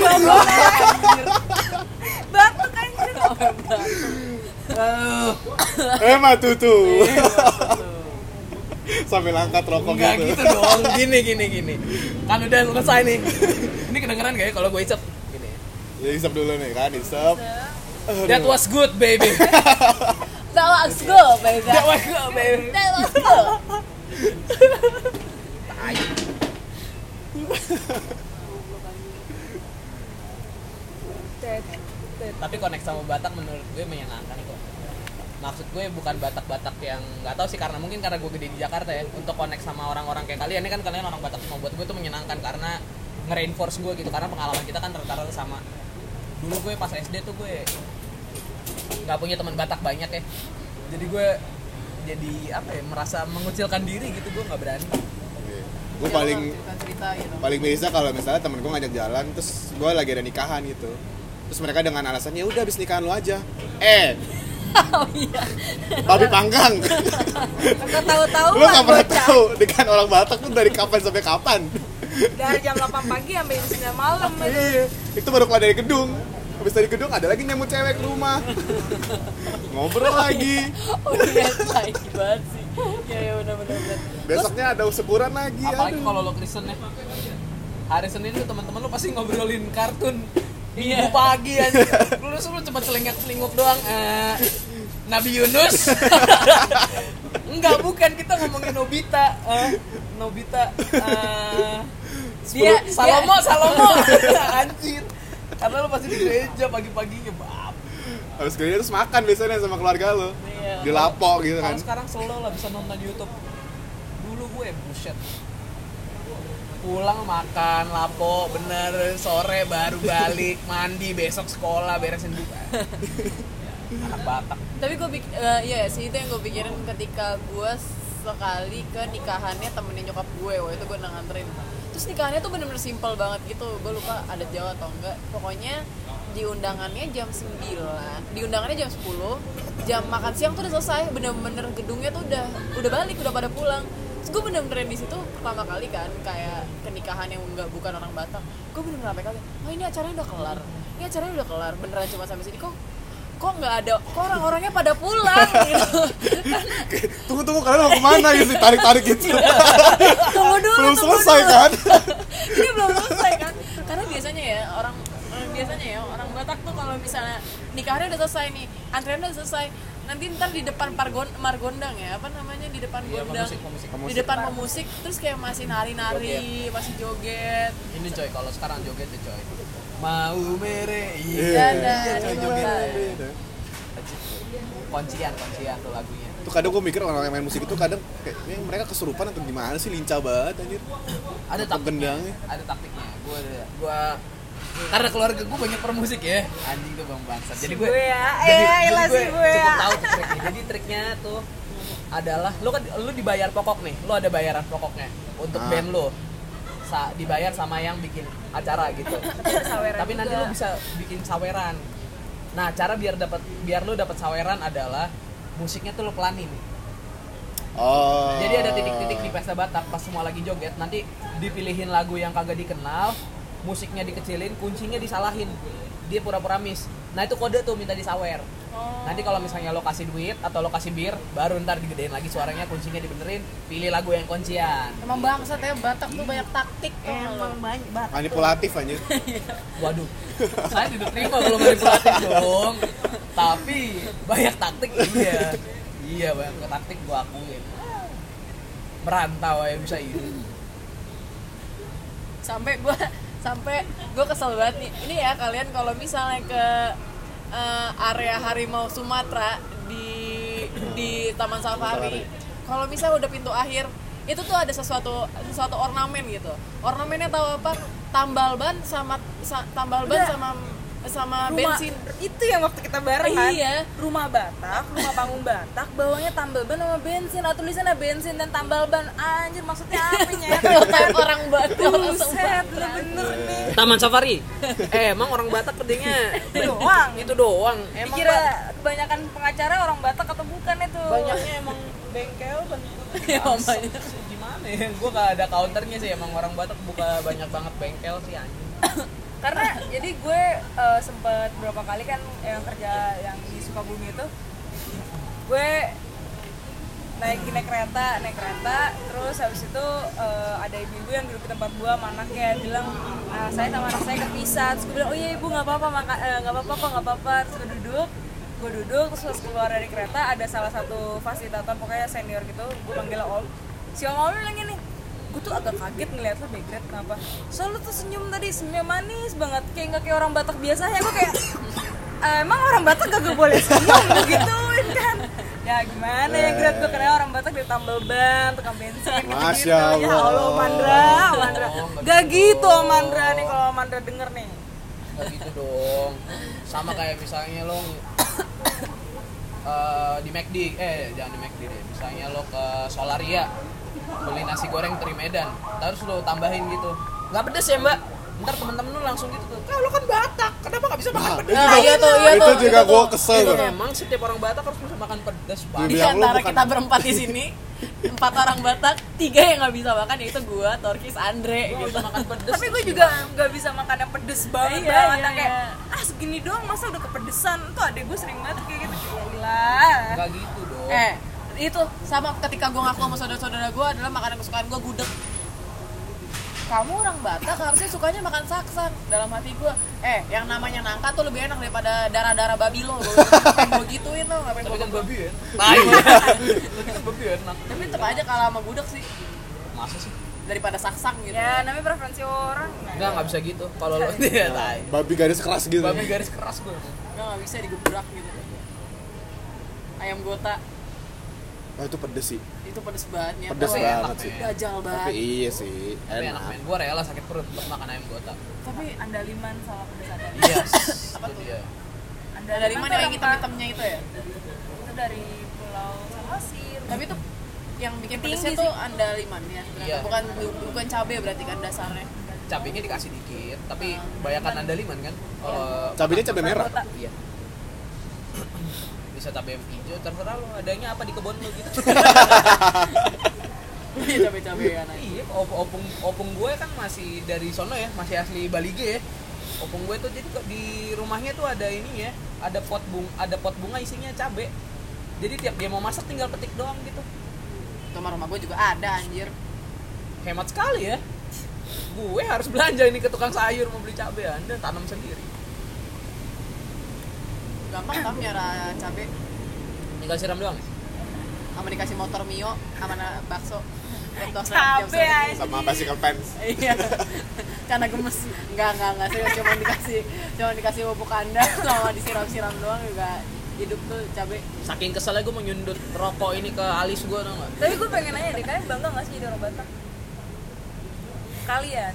batuk anjir batuk anjir
Aduh,
eh matu tuh. Sambil angkat rokok
Enggak
gitu.
gitu dong, gini gini gini. Kan udah selesai nih. Ini kedengeran gak ya kalau gue icap? Gini.
Ya isap dulu nih kan, isap.
That was good baby.
That was good, baby.
That was good baby.
That was good.
Tai.
Tet, tet.
Tapi connect sama Batak menurut gue menyenangkan kok. Maksud gue bukan Batak-Batak yang nggak tahu sih karena mungkin karena gue gede di Jakarta ya untuk connect sama orang-orang kayak kalian ini kan kalian orang Batak semua buat gue tuh menyenangkan karena nge-reinforce gue gitu karena pengalaman kita kan rata-rata sama dulu gue pas SD tuh gue nggak punya teman Batak banyak ya jadi gue jadi apa ya merasa mengucilkan diri gitu gue nggak berani
Gue paling
cerita gitu.
paling biasa kalau misalnya temen gue ngajak jalan terus gue lagi ada nikahan gitu terus mereka dengan alasan ya udah habis nikahan lu aja eh
<laughs> Oh iya.
babi
<laughs>
panggang
Kakak tahu-tahu
lu
Pak,
gak pernah
bocah.
tahu dengan orang Batak tuh dari kapan sampai kapan <laughs>
dari jam 8 pagi sampai jam 9 malam itu.
Iya, itu baru keluar dari gedung habis dari gedung ada lagi nyamuk cewek ke rumah <laughs> ngobrol lagi
iya. <laughs> Oh iya, tai banget sih. Ya ya benar benar benar.
besoknya ada syukuran lagi
apalagi
aduh.
kalau lo Kristen ya hari Senin tuh teman-teman lo pasti ngobrolin kartun
Iya.
minggu pagi aja
<laughs>
lu lu lu cuma celengak celinguk doang eh, Nabi
<laughs>
Yunus enggak bukan kita ngomongin Nobita eh, Nobita eh, dia
Sepuluh-
Salomo
<laughs>
Salomo anjir karena lo pasti di gereja pagi-paginya bab
habis kerja terus makan biasanya sama keluarga lo
Iya.
di lapo gitu kan
Kalau sekarang selalu lah bisa nonton di YouTube. Dulu gue buset. Pulang makan lapo bener sore baru
<laughs>
balik mandi besok sekolah beresin buka. Anak Batak.
tapi gue pikir ya sih itu yang gue pikirin ketika gue sekali ke nikahannya temennya nyokap gue waktu itu gue nganterin terus nikahannya tuh bener-bener simple banget gitu gue lupa ada jawa atau enggak pokoknya di undangannya jam 9 di undangannya jam 10 jam makan siang tuh udah selesai bener-bener gedungnya tuh udah udah balik udah pada pulang terus gue bener-bener di situ pertama kali kan kayak kenikahan yang enggak bukan orang Batak gue bener-bener sampai kali oh ini acaranya udah kelar ini acaranya udah kelar beneran cuma sampai sini kok kok nggak ada kok orang-orangnya pada
<laughs>
pulang gitu
tunggu tunggu kalian mau kemana gitu tarik tarik gitu <laughs>
tunggu dulu
belum
tunggu
selesai
dulu. <laughs>
kan
ini belum selesai kan karena biasanya ya orang eh, biasanya ya orang Batak tuh kalau misalnya nikahnya udah selesai nih antrian udah selesai nanti ntar di depan pargon margondang ya apa namanya di depan
Iya,
gondang
pemusik, pemusik,
di depan pemusik terus kayak masih nari-nari masih joget
Ini coy kalau sekarang joget ya coy. Mau mere iya
Iya.
coy joget.
Dadah.
Kuncian kuncian tuh lagunya.
Tuh kadang gue mikir orang yang main musik itu kadang kayaknya mereka kesurupan atau gimana sih lincah banget anjir.
ada
Atau
taktiknya
gendangnya.
ada taktiknya gue gue karena keluarga gue banyak permusik ya anjing tuh bang bangsat jadi gue
Si Bea,
jadi,
eh,
jadi
elah si
gue cukup
Bea.
tahu tuh triknya jadi triknya tuh adalah lu kan lu dibayar pokok nih lu ada bayaran pokoknya untuk
Ah.
band lu Sa- dibayar sama yang bikin acara gitu
<laughs> saweran
tapi nanti lu
juga.
bisa bikin saweran nah cara biar dapat biar lu dapat saweran adalah musiknya tuh lu pelanin
Oh.
jadi ada titik-titik di pesta Batak pas semua lagi joget nanti dipilihin lagu yang kagak dikenal, musiknya dikecilin, kuncinya disalahin. Dia pura-pura miss. Nah itu kode tuh minta disawer. Nanti kalau misalnya lo kasih duit atau lo kasih bir, baru ntar digedein lagi suaranya, kuncinya dibenerin, pilih lagu yang kuncian.
Emang bangsat ya Batak tuh banyak taktik tau nggak lo?
emang banyak banget
manipulatif anjir.
Waduh, saya tidak terima kalau manipulatif dong. Tapi banyak taktik iya. Iya banyak taktik gua akuin. Merantau ya bisa ini.
sampai gue sampai gue kesel banget nih ini ya kalian kalau misalnya ke eh, area harimau Sumatera di di Taman Safari kalau misalnya udah pintu akhir itu tuh ada sesuatu sesuatu ornamen gitu ornamennya tahu apa tambal ban sama sa- tambal ban
Udah.
sama sama
rumah
bensin
itu yang waktu kita bareng kan
Iya.
rumah Batak rumah panggung Batak bawahnya tambal ban sama bensin atau tulisannya bensin dan tambal ban anjir maksudnya apa nyet
Otak orang Batak
<laughs> buset bener-bener nih
Taman Safari. <laughs> eh, emang orang Batak pedenya
Itu doang.
Itu doang. Emang
dikira
Bang,
kebanyakan pengacara orang Batak atau bukan itu
banyaknya emang bengkel bentuknya iya, gimana ya? Gue gak ada counternya sih emang orang Batak buka banyak banget bengkel sih anjing.
karena jadi gue eh, sempet berapa kali kan yang kerja yang di Sukabumi itu gue naik naik kereta naik kereta terus habis itu eh, ada ibu-ibu yang duduk di tempat gua sama anaknya bilang "Ah, saya sama anak saya kepisah terus gue bilang oh iya ibu nggak apa-apa maka- eh, nggak apa-apa kok nggak apa-apa terus gue duduk gue duduk terus pas keluar dari kereta ada salah satu fasilitator pokoknya senior gitu gue panggil Ol si Om Ol bilang gini gue tuh agak kaget ngeliat lo background kenapa soalnya tuh senyum tadi senyum manis banget kayak nggak kayak orang Batak biasanya gue kayak "Eh, emang orang Batak gak boleh senyum gituin kan ya gimana ya Gret gue kenal orang Batak dari tambal ban tukang bensin gitu-gitu.
Masya
ya Allah
Allah.
Mandra Mandra
Oh, nggak
gak
gitu.
gitu Om Mandra nih kalau Om Mandra denger nih
Gak gitu dong. Sama kayak misalnya lo <coughs> eh, di McD, eh jangan di McD deh. Misalnya lo ke Solaria beli nasi goreng teri Medan, terus lo tambahin gitu. Nggak pedes ya mbak? Ntar temen-temen lo langsung gitu tuh. Kau lo kan Batak, kenapa nggak bisa makan
Nah,
pedes?
Nah, iya tuh, iya
itu
tuh,
juga
itu
gue
tuh.
kesel
Itu
tuh.
memang setiap orang Batak harus bisa makan pedas banget.
di
Dibilang lu
antara
bukan-
kita berempat di sini empat orang Batak tiga yang nggak bisa makan yaitu gue Torkis Andre
Gua
gitu
bisa makan pedas.
tapi gue juga nggak bisa makan yang pedes banget
Iya,
banget
iya,
yang kayak
iya.
ah segini doang masa udah kepedesan tuh adek gue sering banget kayak gitu ya ilah
Enggak gitu dong.
Eh, itu sama ketika gue ngaku sama saudara-saudara gue adalah makanan kesukaan gue gudeg. Kamu orang Batak harusnya sukanya makan saksan. Dalam hati gue, eh yang namanya nangka tuh lebih enak daripada darah-darah babi lo. Gue gituin lo, ngapain
tapi
gue
kan babi ya. Tai. Tapi kan babi enak.
Tapi tetap aja kalah sama gudeg sih
Masa sih?
daripada saksang gitu.
ya namanya preferensi orang nah.
Enggak, enggak bisa gitu. Kalau <laughs> lo dia tai.
Babi garis keras gitu.
Babi garis keras gue.
Gue nggak bisa digebrak gitu. Ayam gota
Oh, itu pedes sih.
itu pedes banget. nyet.
Pedes
Tapi
enak,
banget sih.
men.
Dajal
Tapi
banget.
iya sih,
Tapi enak men,
enak.
gue rela sakit perut buat makan ayam botak
tapi andaliman sama pedesan
Iya, itu dia
Dari mana yang
kita
hitam-hitamnya itu ya?
itu dari pulau Samosir
tapi tuh yang bikin
Tinggi
pedesnya
sih.
tuh andaliman ya ternyata.
Iya.
bukan bukan cabe berarti kan dasarnya
Cabenya dikasih dikit, tapi bayakan andaliman kan Kalau
Cabenya cabai merah.
Kota.
Iya bisa cabai hijau terserah lo adanya apa di kebun lo gitu <laughs>
cabe-cabe kan
iya op- opung opung gue kan masih dari sono ya masih asli Balige ya opung gue tuh jadi kok di rumahnya tuh ada ini ya ada pot bunga ada pot bunga isinya cabe jadi tiap dia mau masak tinggal petik doang gitu
kamar rumah gue juga ada anjir
hemat sekali ya gue harus belanja ini ke tukang sayur mau beli cabe anda tanam sendiri
gampang kan nyara cabe
tinggal siram doang ya?
sama dikasih motor mio sama na- bakso Bentos jam
Cabe,
setengah.
anjir.
Sama bicycle pants.
iya karena gemes enggak enggak enggak serius cuma dikasih cuma dikasih pupuk anda sama disiram-siram doang juga hidup tuh cabe
Saking keselnya gue menyundut rokok ini ke alis gue tau gak?
Tapi gue pengen nanya deh, kalian bangga gak sih jadi orang Batak? Kalian,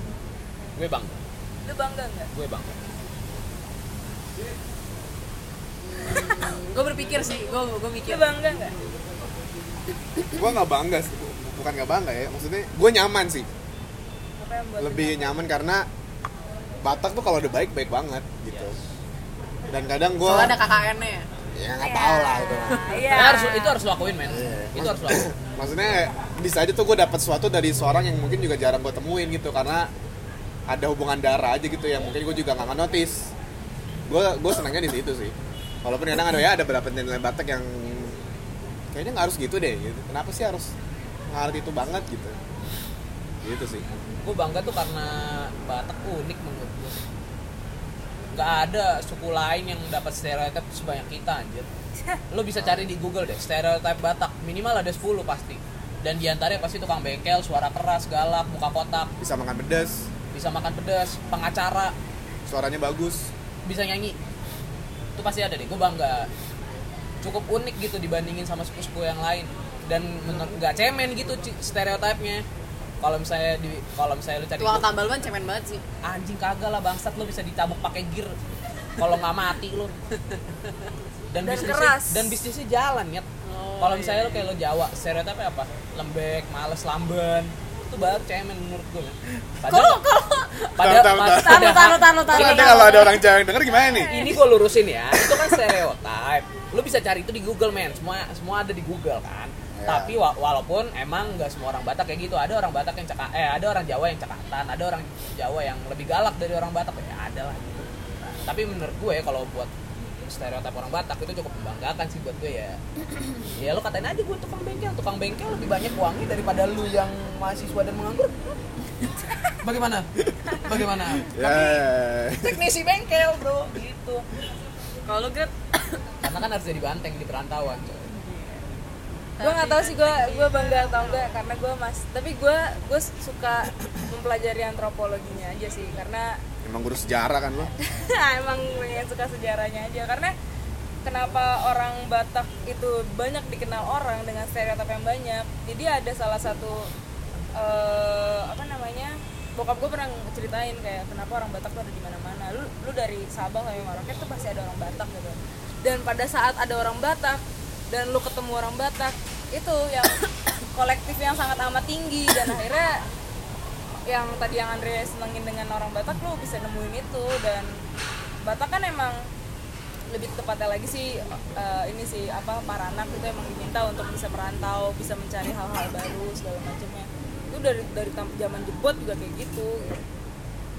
Gue bang,
lu bangga nggak?
gue bang.
gue berpikir sih gue gue mikir
Lu Iya, bangga nggak?
gue nggak bangga sih bukan nggak bangga ya maksudnya gue nyaman sih
Apa yang buat
lebih nyaman karena Batak tuh kalau udah baik baik banget gitu dan kadang gue
soalnya ada KKN-nya ya.
ya nggak tahu lah itu
Iya.
Itu harus itu harus lakuin men. Itu harus lakuin.
maksudnya bisa aja tuh gue dapat sesuatu dari seorang yang mungkin juga jarang gue temuin gitu karena ada hubungan darah aja gitu yang mungkin gue juga nggak notice gue gue senangnya di situ sih walaupun kadang ada ya ada beberapa nilai batak yang kayaknya nggak harus gitu deh gitu. kenapa sih harus ngarti itu banget gitu gitu sih
Gue bangga tuh karena Batak unik menurut gue. Gak ada suku lain yang dapat stereotip sebanyak kita anjir. Lo bisa cari di Google deh, stereotip Batak. Minimal ada 10 pasti. Dan diantaranya pasti tukang bengkel, suara keras, galak, muka kotak,
bisa makan pedas
bisa makan pedas, pengacara,
suaranya bagus
bisa nyanyi itu pasti ada deh gue bangga cukup unik gitu dibandingin sama sepupu-sepupu yang lain dan menurut nggak cemen gitu ci- stereotipnya kalau misalnya di kalau misalnya lu cari
Tuang
grup,
Tambalban cemen banget sih.
anjing kagak lah bangsat lu bisa ditabuk pakai gear kalau nggak mati lu dan,
Dan
bisnisnya,
keras.
dan bisnisnya jalan ya kalau misalnya lu kayak lo Jawa stereotipnya apa lembek males lamben itu baru cemen menurut gue padahal padahal
Taruh, taruh,
padahal-
taruh
Tapi nanti kalau ada orang Iya. Jawa yang denger gimana nih
ini gue lurusin ya itu kan stereotip lu bisa cari itu di Google men semua semua ada di Google kan
Ya.
tapi wa- walaupun emang nggak semua orang Batak kayak gitu ada orang Batak yang caka eh ada orang Jawa yang cekatan ada orang Jawa yang lebih galak dari orang Batak ya ada lah gitu Nah, tapi menurut gue kalau buat stereotip orang Batak itu cukup membanggakan sih buat gue ya ya lu katain aja gue tukang bengkel tukang bengkel lebih banyak uangnya daripada lu yang mahasiswa dan menganggur bagaimana bagaimana
ya
teknisi bengkel bro gitu
Kalau lu Gret,
karena kan harus jadi banteng di perantauan coy.
gue nggak tahu sih gue gue bangga atau enggak karena gue mas tapi gue gue suka mempelajari antropologinya aja sih karena
emang guru sejarah kan lo
<laughs> emang yang suka sejarahnya aja karena kenapa orang Batak itu banyak dikenal orang dengan stereotip yang banyak jadi ada salah satu eh, apa namanya bokap gue pernah ceritain kayak kenapa orang Batak tuh ada di mana-mana lu lu dari Sabang sampai Merauke tuh pasti ada orang Batak gitu dan pada saat ada orang Batak dan lu ketemu orang Batak itu yang <coughs> kolektif yang sangat amat tinggi dan akhirnya yang tadi yang Andre senengin dengan orang Batak lu bisa nemuin itu dan Batak kan emang lebih tepatnya lagi sih eh, ini sih apa para anak itu emang diminta untuk bisa merantau bisa mencari hal-hal baru segala macamnya itu dari dari tam- zaman jebot juga kayak gitu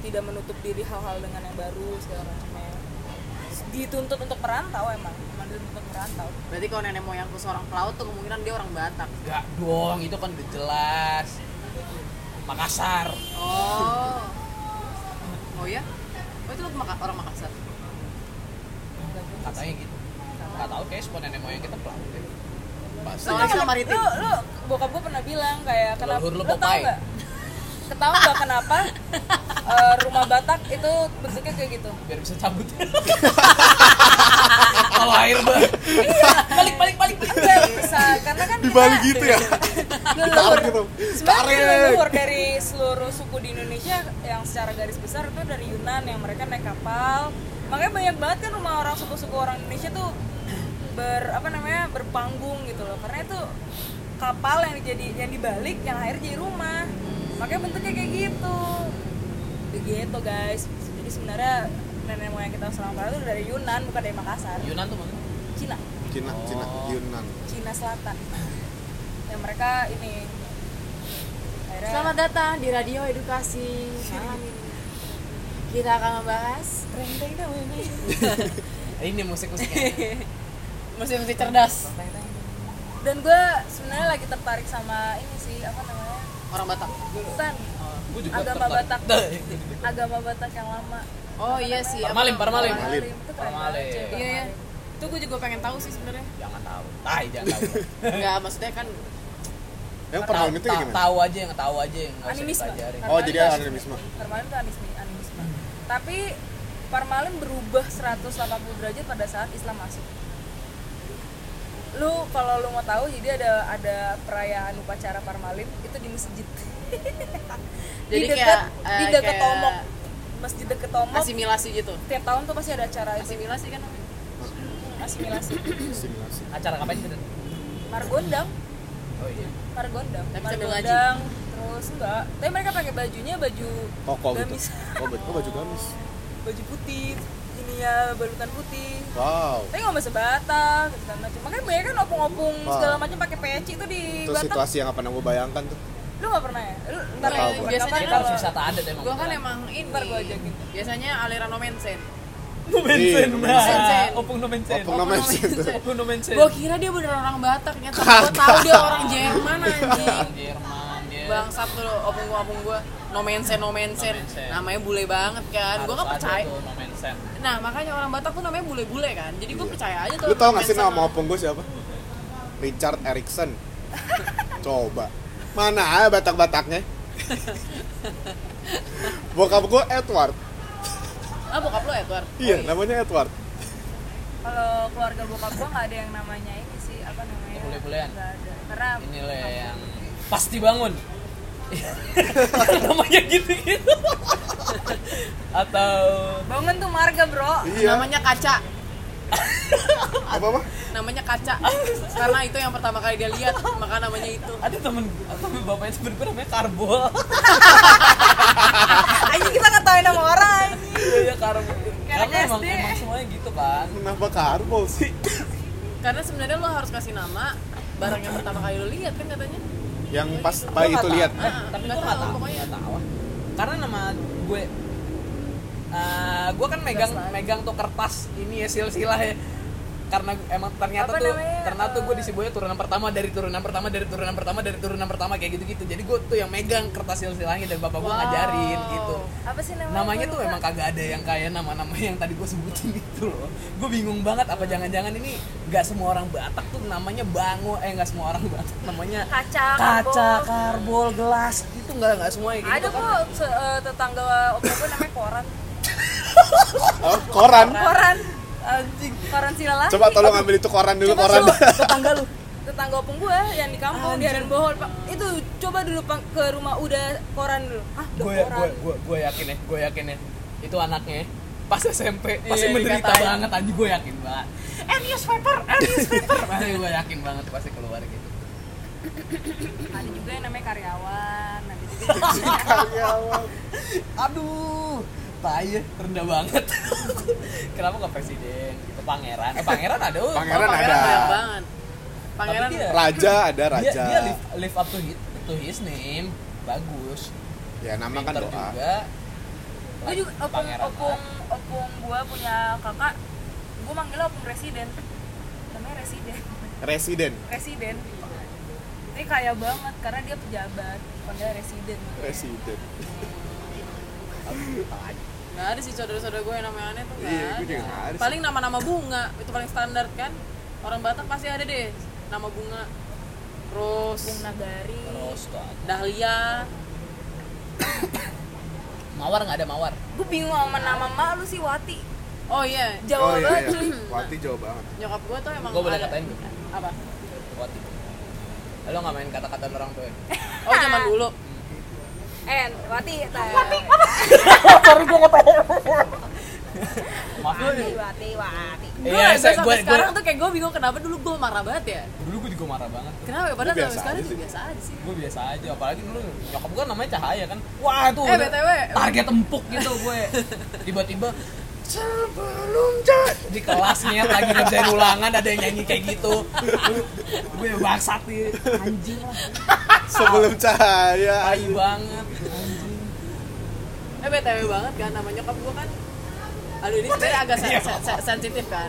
tidak menutup diri hal-hal dengan yang baru segala macamnya dituntut untuk merantau emang emang dituntut merantau
Berarti kalau nenek moyangku seorang pelaut tuh kemungkinan dia orang Batak.
Enggak dong, itu kan udah jelas. Makassar.
Oh. Oh ya? Oh itu lu Maka- orang Makassar.
Katanya gitu. Enggak tahu kayak spon nenek moyang E kita pelaut deh.
Lu
Soalnya
tau
sama
nggak-
maritim.
lu lu bokap gue pernah bilang kayak kenapa
Leluhur lu
lu tau
Popeye.
nggak ketahu nggak kenapa eh, rumah batak itu bentuknya kayak gitu
Biar bisa cabut. Kalau air banget.
balik balik balik balik Nggak bisa karena kan
dibalik gitu ya
leluhur
Ditarik.
sebenarnya
Tarik.
leluhur dari seluruh suku di Indonesia yang secara garis besar itu dari Yunan yang mereka naik kapal makanya banyak banget kan rumah orang suku-suku orang Indonesia tuh ber apa namanya berpanggung gitu loh karena itu kapal yang jadi yang dibalik yang akhirnya jadi rumah makanya bentuknya kayak gitu begitu guys jadi sebenarnya nenek moyang kita selama barat itu dari Yunan bukan dari Makassar
Yunan tuh mana?
Cina
Cina Cina Yunan
Cina Selatan <clears throat> yang mereka ini akhirnya
Selamat datang di Radio Edukasi
<laughs>
malam ini. Kita akan membahas
Renteng dong ini.
Eh, Ini musik-musiknya.
Mesti-mesti cerdas.
dan gue sebenarnya lagi tertarik sama ini sih apa namanya
Orang Batak.
bukan
Gue
agama Batak agama Batak yang lama
Oh iya sih. apa-
iya. Parmalim, parmalim.
Parmalim itu keren
Parmalim.
banget cuy,
Iya ya.
Parmalim.
Itu gue juga pengen tahu sih
<laughs>
sebenarnya.
Jangan tahu. Tai jangan tahu.
Enggak, maksudnya kan
yang
Tahu,
pertama itu kayak gitu gimana
tahu aja yang tahu aja yang nggak usah
Animisme.
dipelajarin.
oh jadi anonimisme
Parmalim itu animisme, animisme. tapi Parmalim berubah 180 derajat pada saat Islam masuk lu kalau lu mau tahu jadi ada ada perayaan upacara Parmalim itu di masjid
<laughs> Jadi
di dekat
kayak,
di
eh,
dekat
kayak-
Tomok masjid dekat Tomok
asimilasi gitu
tiap tahun tuh pasti ada acara itu
asimilasi kan namanya
asimilasi
Simulasi.
acara kapan sih
Margondang
oh iya
Margondang
Tapi sambil ngaji.
Margondang terus enggak tapi mereka pakai bajunya baju
Koko gitu.
gamis
<laughs> Oh, baju, oh, baju gamis.
baju putih ini ya balutan putih
Wow.
tapi nggak bahasa Batak segala macam makanya banyak kan opung-opung
Wah.
segala macam pakai peci itu di
Itu
Batak
situasi yang gak pernah gue bayangkan tuh.
lu nggak pernah ya lu ntar
tahu
ya,
gua.
biasanya
kita
kalau
harus wisata adat emang
Gua kan emang ini.
ntar gua ajakin
Biasanya aliran Omensen.
Iya,
Sen.
Nah, opung nomensen
Opung nomensen.
opung nomensen
Gua kira dia bener orang Batak ya, tapi gua tahu dia orang Jerman anjing.
Jerman dia
Bangsat tuh opung gua opung gua Nomensen Nomensen.
Nomensen.
Namanya bule banget kan.
Harus
Gua kan
ada
percaya.
tuh nomensen
Nah, makanya orang Batak tuh namanya bule-bule kan. Jadi
Iya.
gua percaya aja tuh.
Lu tau gak sih
Nomensen
nama opung gue siapa? Richard <laughs> Erikson. Coba. Mana ada <laughs> batak-bataknya? Bokap gue Edward.
Ah, bokap lu Edward. Oh,
Iya, namanya Edward.
kalau keluarga bokap gua nggak ada yang namanya ini sih apa namanya
Bule-bulean.
nggak ada karena
inilah yang pasti
<laughs>
bangun namanya gitu gitu atau
bangun tuh marga bro
Iya.
Namanya Kaca.
Apa apa?
Namanya
<laughs>
Kaca. Karena itu yang pertama kali dia lihat, maka namanya itu.
ada temen temen bapaknya temen gue namanya karbo <laughs>
anjing kita ngetawain nama orang anjing
iya iya, karbo
Kayak
karena emang
SD.
emang semuanya gitu kan
Kenapa Karbo sih?
Karena sebenarnya lo harus kasih nama barang yang pertama kali lo lihat kan katanya.
Yang pas
Gua
bayi
nggak
itu
tahu.
lihat.
Eh, tapi
Nggak
gue nggak
tahu
tahu
pokoknya.
nggak tahu karena nama gue eh gue kan megang megang tuh kertas ini ya silsilah ya karena gu- emang ternyata
Apa
tuh
namanya?
ternyata tuh gue disebutnya turunan pertama dari turunan pertama dari turunan pertama dari turunan pertama kayak gitu gitu jadi gue tuh yang megang kertas silsilahnya dan bapak gue ngajarin gitu
apa sih namanya
namanya
Gua
tuh
lupa.
emang kagak ada yang kayak nama-nama yang tadi gue sebutin itu loh gue bingung banget apa jangan-jangan ini nggak semua orang Batak tuh namanya bango eh nggak semua orang Batak namanya
kaca
kaca
karbol.
karbol gelas itu nggak nggak semua kayak
ada
gitu kan.
kok se- eh, tetangga opung gua namanya koran
Oh, koran.
koran anjing koran silalah
Coba tolong ambil itu koran dulu
Coba
koran. <laughs>
suruh tetangga lu tetangga opung gue yang di kampung di Haran Bohol pak itu coba dulu Pak, ke rumah udah koran dulu ah udah
gue
koran
gue gue gue yakin ya gue yakin ya itu anaknya ya, pas SMP pasti
Iya,
menderita
dikatain.
banget anjing gue yakin banget and newspaper and newspaper <laughs> pasti gue yakin banget pasti keluar gitu
ada juga yang namanya karyawan ada juga
<laughs>
Karyawan.
aduh tai ya, rendah banget <laughs> kenapa nggak presiden gitu pangeran eh, pangeran ada uh.
Pangeran
Oh,
ada.
Banyak banget. Pangeran
Tapi dia-
Raja ada
dia,
raja.
dia live, live up to his, to his name bagus
Ya nama kan
Pinter
doa.
juga
gue juga opung
Pangeran
opung opung gue punya kakak gue manggilnya opung residen namanya residen <laughs>
Residen.
residen ini kaya banget karena dia pejabat panggilnya residen
Residen.
Gak ada sih saudara-saudara gue yang namanya aneh tuh gak
Iya, gue juga
ada.
nggak ada sih.
Paling nama-nama bunga, itu paling standar kan. Orang Batak pasti ada deh nama bunga. Terus
opung nagari
terus tuh
Dahlia.
mawar nggak ada mawar
gue bingung sama nama mak lu sih wati
Oh iya,
jauh
oh iya,
banget
iya.
cuy.
Wati jauh banget.
nyokap gue tuh emang
Gua boleh
ada.
katain belum?
Apa?
Kuat itu. Lo nggak main kata-kata orang
<laughs>
tua ya?
Oh zaman dulu.
<laughs> eh wati wati
Maaf lo
wati wati wati
Iya,
Iya,
saya-
sampai
gua-
sekarang
gua-
tuh kayak gue bingung kenapa dulu gue marah banget ya.
Dulu gue juga marah banget
Kenapa ya? Padahal
Lu biasa
sampai sekarang
aja
tuh
sih.
biasa aja sih.
Gue biasa aja, apalagi dulu nyokap gue namanya Cahaya kan Wah itu
Eh,
udah
BTW.
target empuk gitu gue Tiba-tiba
Sebelum jat.
di kelasnya lagi ngerjain ulangan ada yang nyanyi kayak gitu Gue bangsat nih, anjing lah,
Sebelum cahaya.
tai banget
Eh BTW banget kan nama nyokap gue kan Aduh ini sebenarnya agak sen- sen- sen- sensitif kan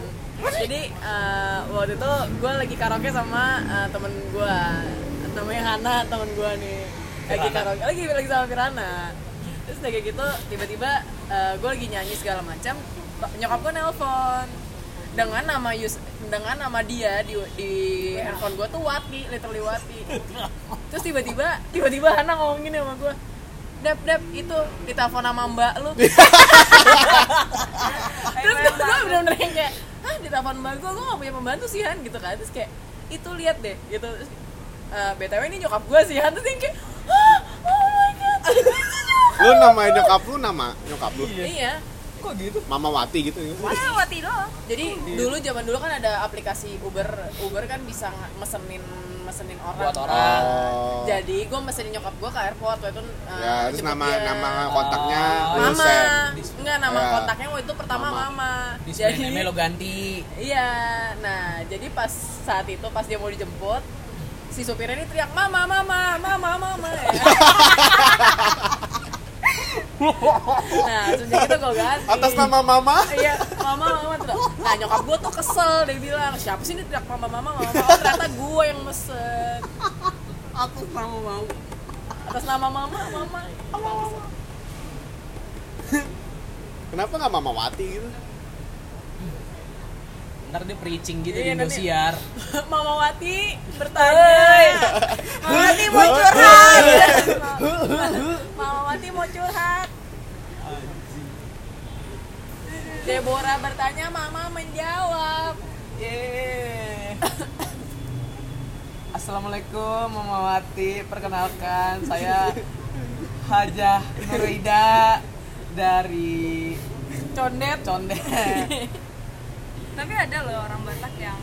Jadi eh, waktu itu gue lagi karaoke sama eh, temen gue Namanya Hana temen gue nih Lagi
Firana.
karaoke, lagi, lagi sama Firana Terus udah kayak gitu tiba-tiba gue lagi nyanyi segala macam ba- Nyokap gue nelpon dengan nama Yus, dengan nama dia di, di handphone gue tuh Wati, literally Wati terus tiba-tiba tiba-tiba Hana ngomong gini sama gue Dep, Dep, itu ditelepon sama mbak
<laughs>
lu Terus gue bener-bener yang kayak Hah, ditelepon mbak gue, gue gak punya pembantu sih Han gitu kan Terus kayak, itu lihat deh gitu Terus, eh, btw ini nyokap gue sih hantu yang kayak "Ah, oh my
<laughs>
god
Lu nama nyokap lu nama nyokap lu.
iya
Kok gitu?
Mama Wati gitu.
Mana mati Iya, doang?
jadi
Oh, iya.
dulu zaman dulu kan ada aplikasi Uber Uber kan bisa nge- mesenin mesenin orang
Buat orang.
Oh.
jadi gue mesenin nyokap gue ke airport waktu itu eh,
Ya, terus
jemput
nama
dia.
nama kontaknya
Oh.
lu
mama
share.
enggak nama
Ya.
kontaknya waktu itu pertama
iya, Mama.
mama,
di
jadi
Meme lo ganti
iya nah jadi pas saat itu pas dia mau dijemput si supirnya ini teriak mama mama mama mama ya. nah sejak itu gue ganti
Atas nama mama.
iya mama mama tuh nah nyokap gue tuh kesel dia bilang siapa sih ini teriak mama mama mama mama oh, ternyata gue yang mesen
Atas nama mama.
atas nama mama mama
Kenapa nggak Mama Wati gitu?
ntar dia preaching gitu di
Iya, nanti-
Indosiar
<laughs> mama Wati bertanya mama Wati mau
<laughs>
curhat mama Wati mau curhat Deborah bertanya mama menjawab
Yeay. Assalamualaikum Mama Wati, perkenalkan saya Hajah Nurida dari Condet Condet.
Tapi ada loh orang Batak yang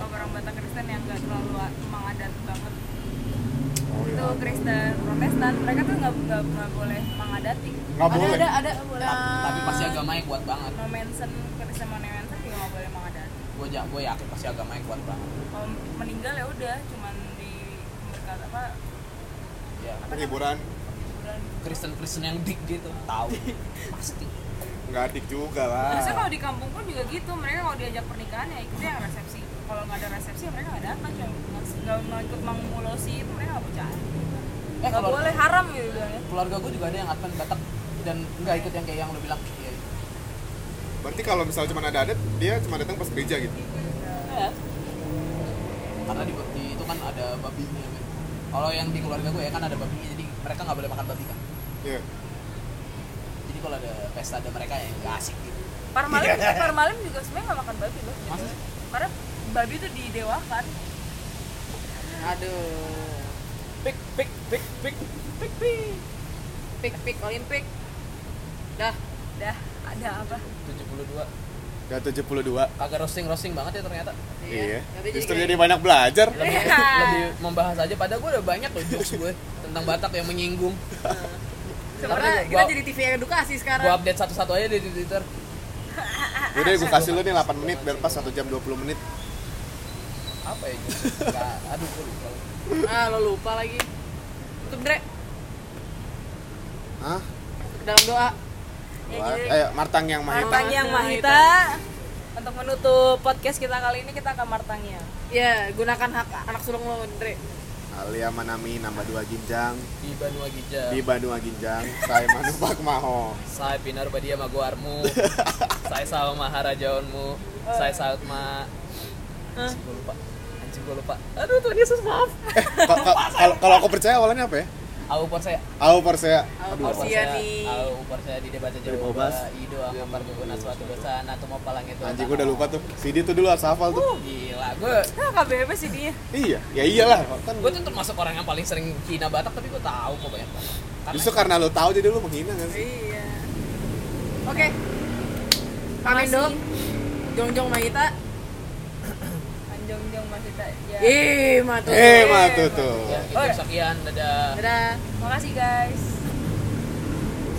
eh, orang Batak Kristen yang nggak terlalu mengadat banget. itu Kristen Protestan mereka tuh nggak nggak nggak boleh mengadati.
Nggak
ada
boleh.
ada ada eh,
Tapi pasti agamanya kuat banget.
No mention Kristen no mention juga nggak boleh mengadati.
Gue gue yakin pasti agamanya kuat banget.
Kalau meninggal ya udah cuman di berkat apa
Ya.
Hiburan
kuburan.
Kristen Kristen yang dik gitu tahu pasti.
nggak adik juga lah.
Maksudnya kalau di kampung pun juga gitu, mereka kalau diajak pernikahan ya ikutnya yang resepsi. Kalau nggak ada resepsi ya mereka nggak datang, cuma nggak- nggak mau ikut mengulosi itu mereka nggak percaya.
Eh,
Nggak
kalau-
boleh haram gitu bilangnya.
Keluarga gue juga ada yang Advent Batak dan nggak ikut yang kayak yang lo bilang. Iya.
Berarti kalau misalnya cuma ada adat, dia cuma datang pas gereja gitu.
Iya.
Karena di, di itu kan ada babinya. men. Kalau yang di keluarga gue ya kan ada babinya jadi mereka nggak boleh makan babi kan.
Iya.
Jadi kalau ada pesta ada mereka yang nggak asik gitu.
Parmalim, parmalim juga sebenarnya nggak makan babi loh. gitu.
Masa sih?
Karena babi itu didewakan.
aduh
Pik pik pik pik pik pik.
pik pik olimpik dah
Dah ada apa?
72
Udah 72.
kagak roasting roasting banget ya ternyata
Iya.
Nanti
Justru
kayak-
jadi Iya. banyak belajar.
lebih, lebih membahas aja padahal gue udah banyak loh jokes gue tentang Batak yang menyinggung
sebenarnya
Ntar
kita
gua-
jadi TV edukasi sekarang
gue update satu-satu aja deh di Twitter
Udah gue kasih lu nih 8 menit biar pas 1 jam 20 menit.
apa ya jokes Nggak, aduh gue lupa
ah lo lupa lagi tutup Dre
Hah?
Tutup dalam doa
Buat- Ayo, Martang yang mahita.
Martang.
Martangiang
Mahita.
Mahita. Untuk menutup podcast kita kali ini kita akan Martangiang.
ya gunakan hak anak sulung lo Dre
Alia Manami nambah 2 ginjang
di Banua Gija
di Bandung Ginjang. Saya Manu Pak Maho.
saya pinar badia maguarmu saya sama maharajaonmu saya saut ma anjing gue lupa anjing gue lupa aduh Tuhan Yesus maaf
Eh, ka- ka- kalau kalau aku percaya awalnya apa ya?
aku por saya
Aku percaya.
Au
Aduh,
Aupor
porsi.
saya,
Orsiani.
aupor saya di debat jauh
Bobas.
Ido, ampar guguna suatu dosa, nato mau palang itu.
anjing gue udah lupa tuh. CD tuh dulu harus hafal tuh.
Gila, gue
Hah, KBP sih dia.
Iya, ya iyalah. Kan
gue tuh termasuk orang yang paling sering hina Batak tapi gue tahu kok banyak banget. Karena
justru karena lu tahu jadi lu menghina kan sih.
Iya.
oke pamit dong jongjong Mahita
Anjong-jong Mahita. Ya.
ih matu
Eh, mah tuh tuh.
ya, itu gitu, sekian dadah.
dadah
Makasih guys.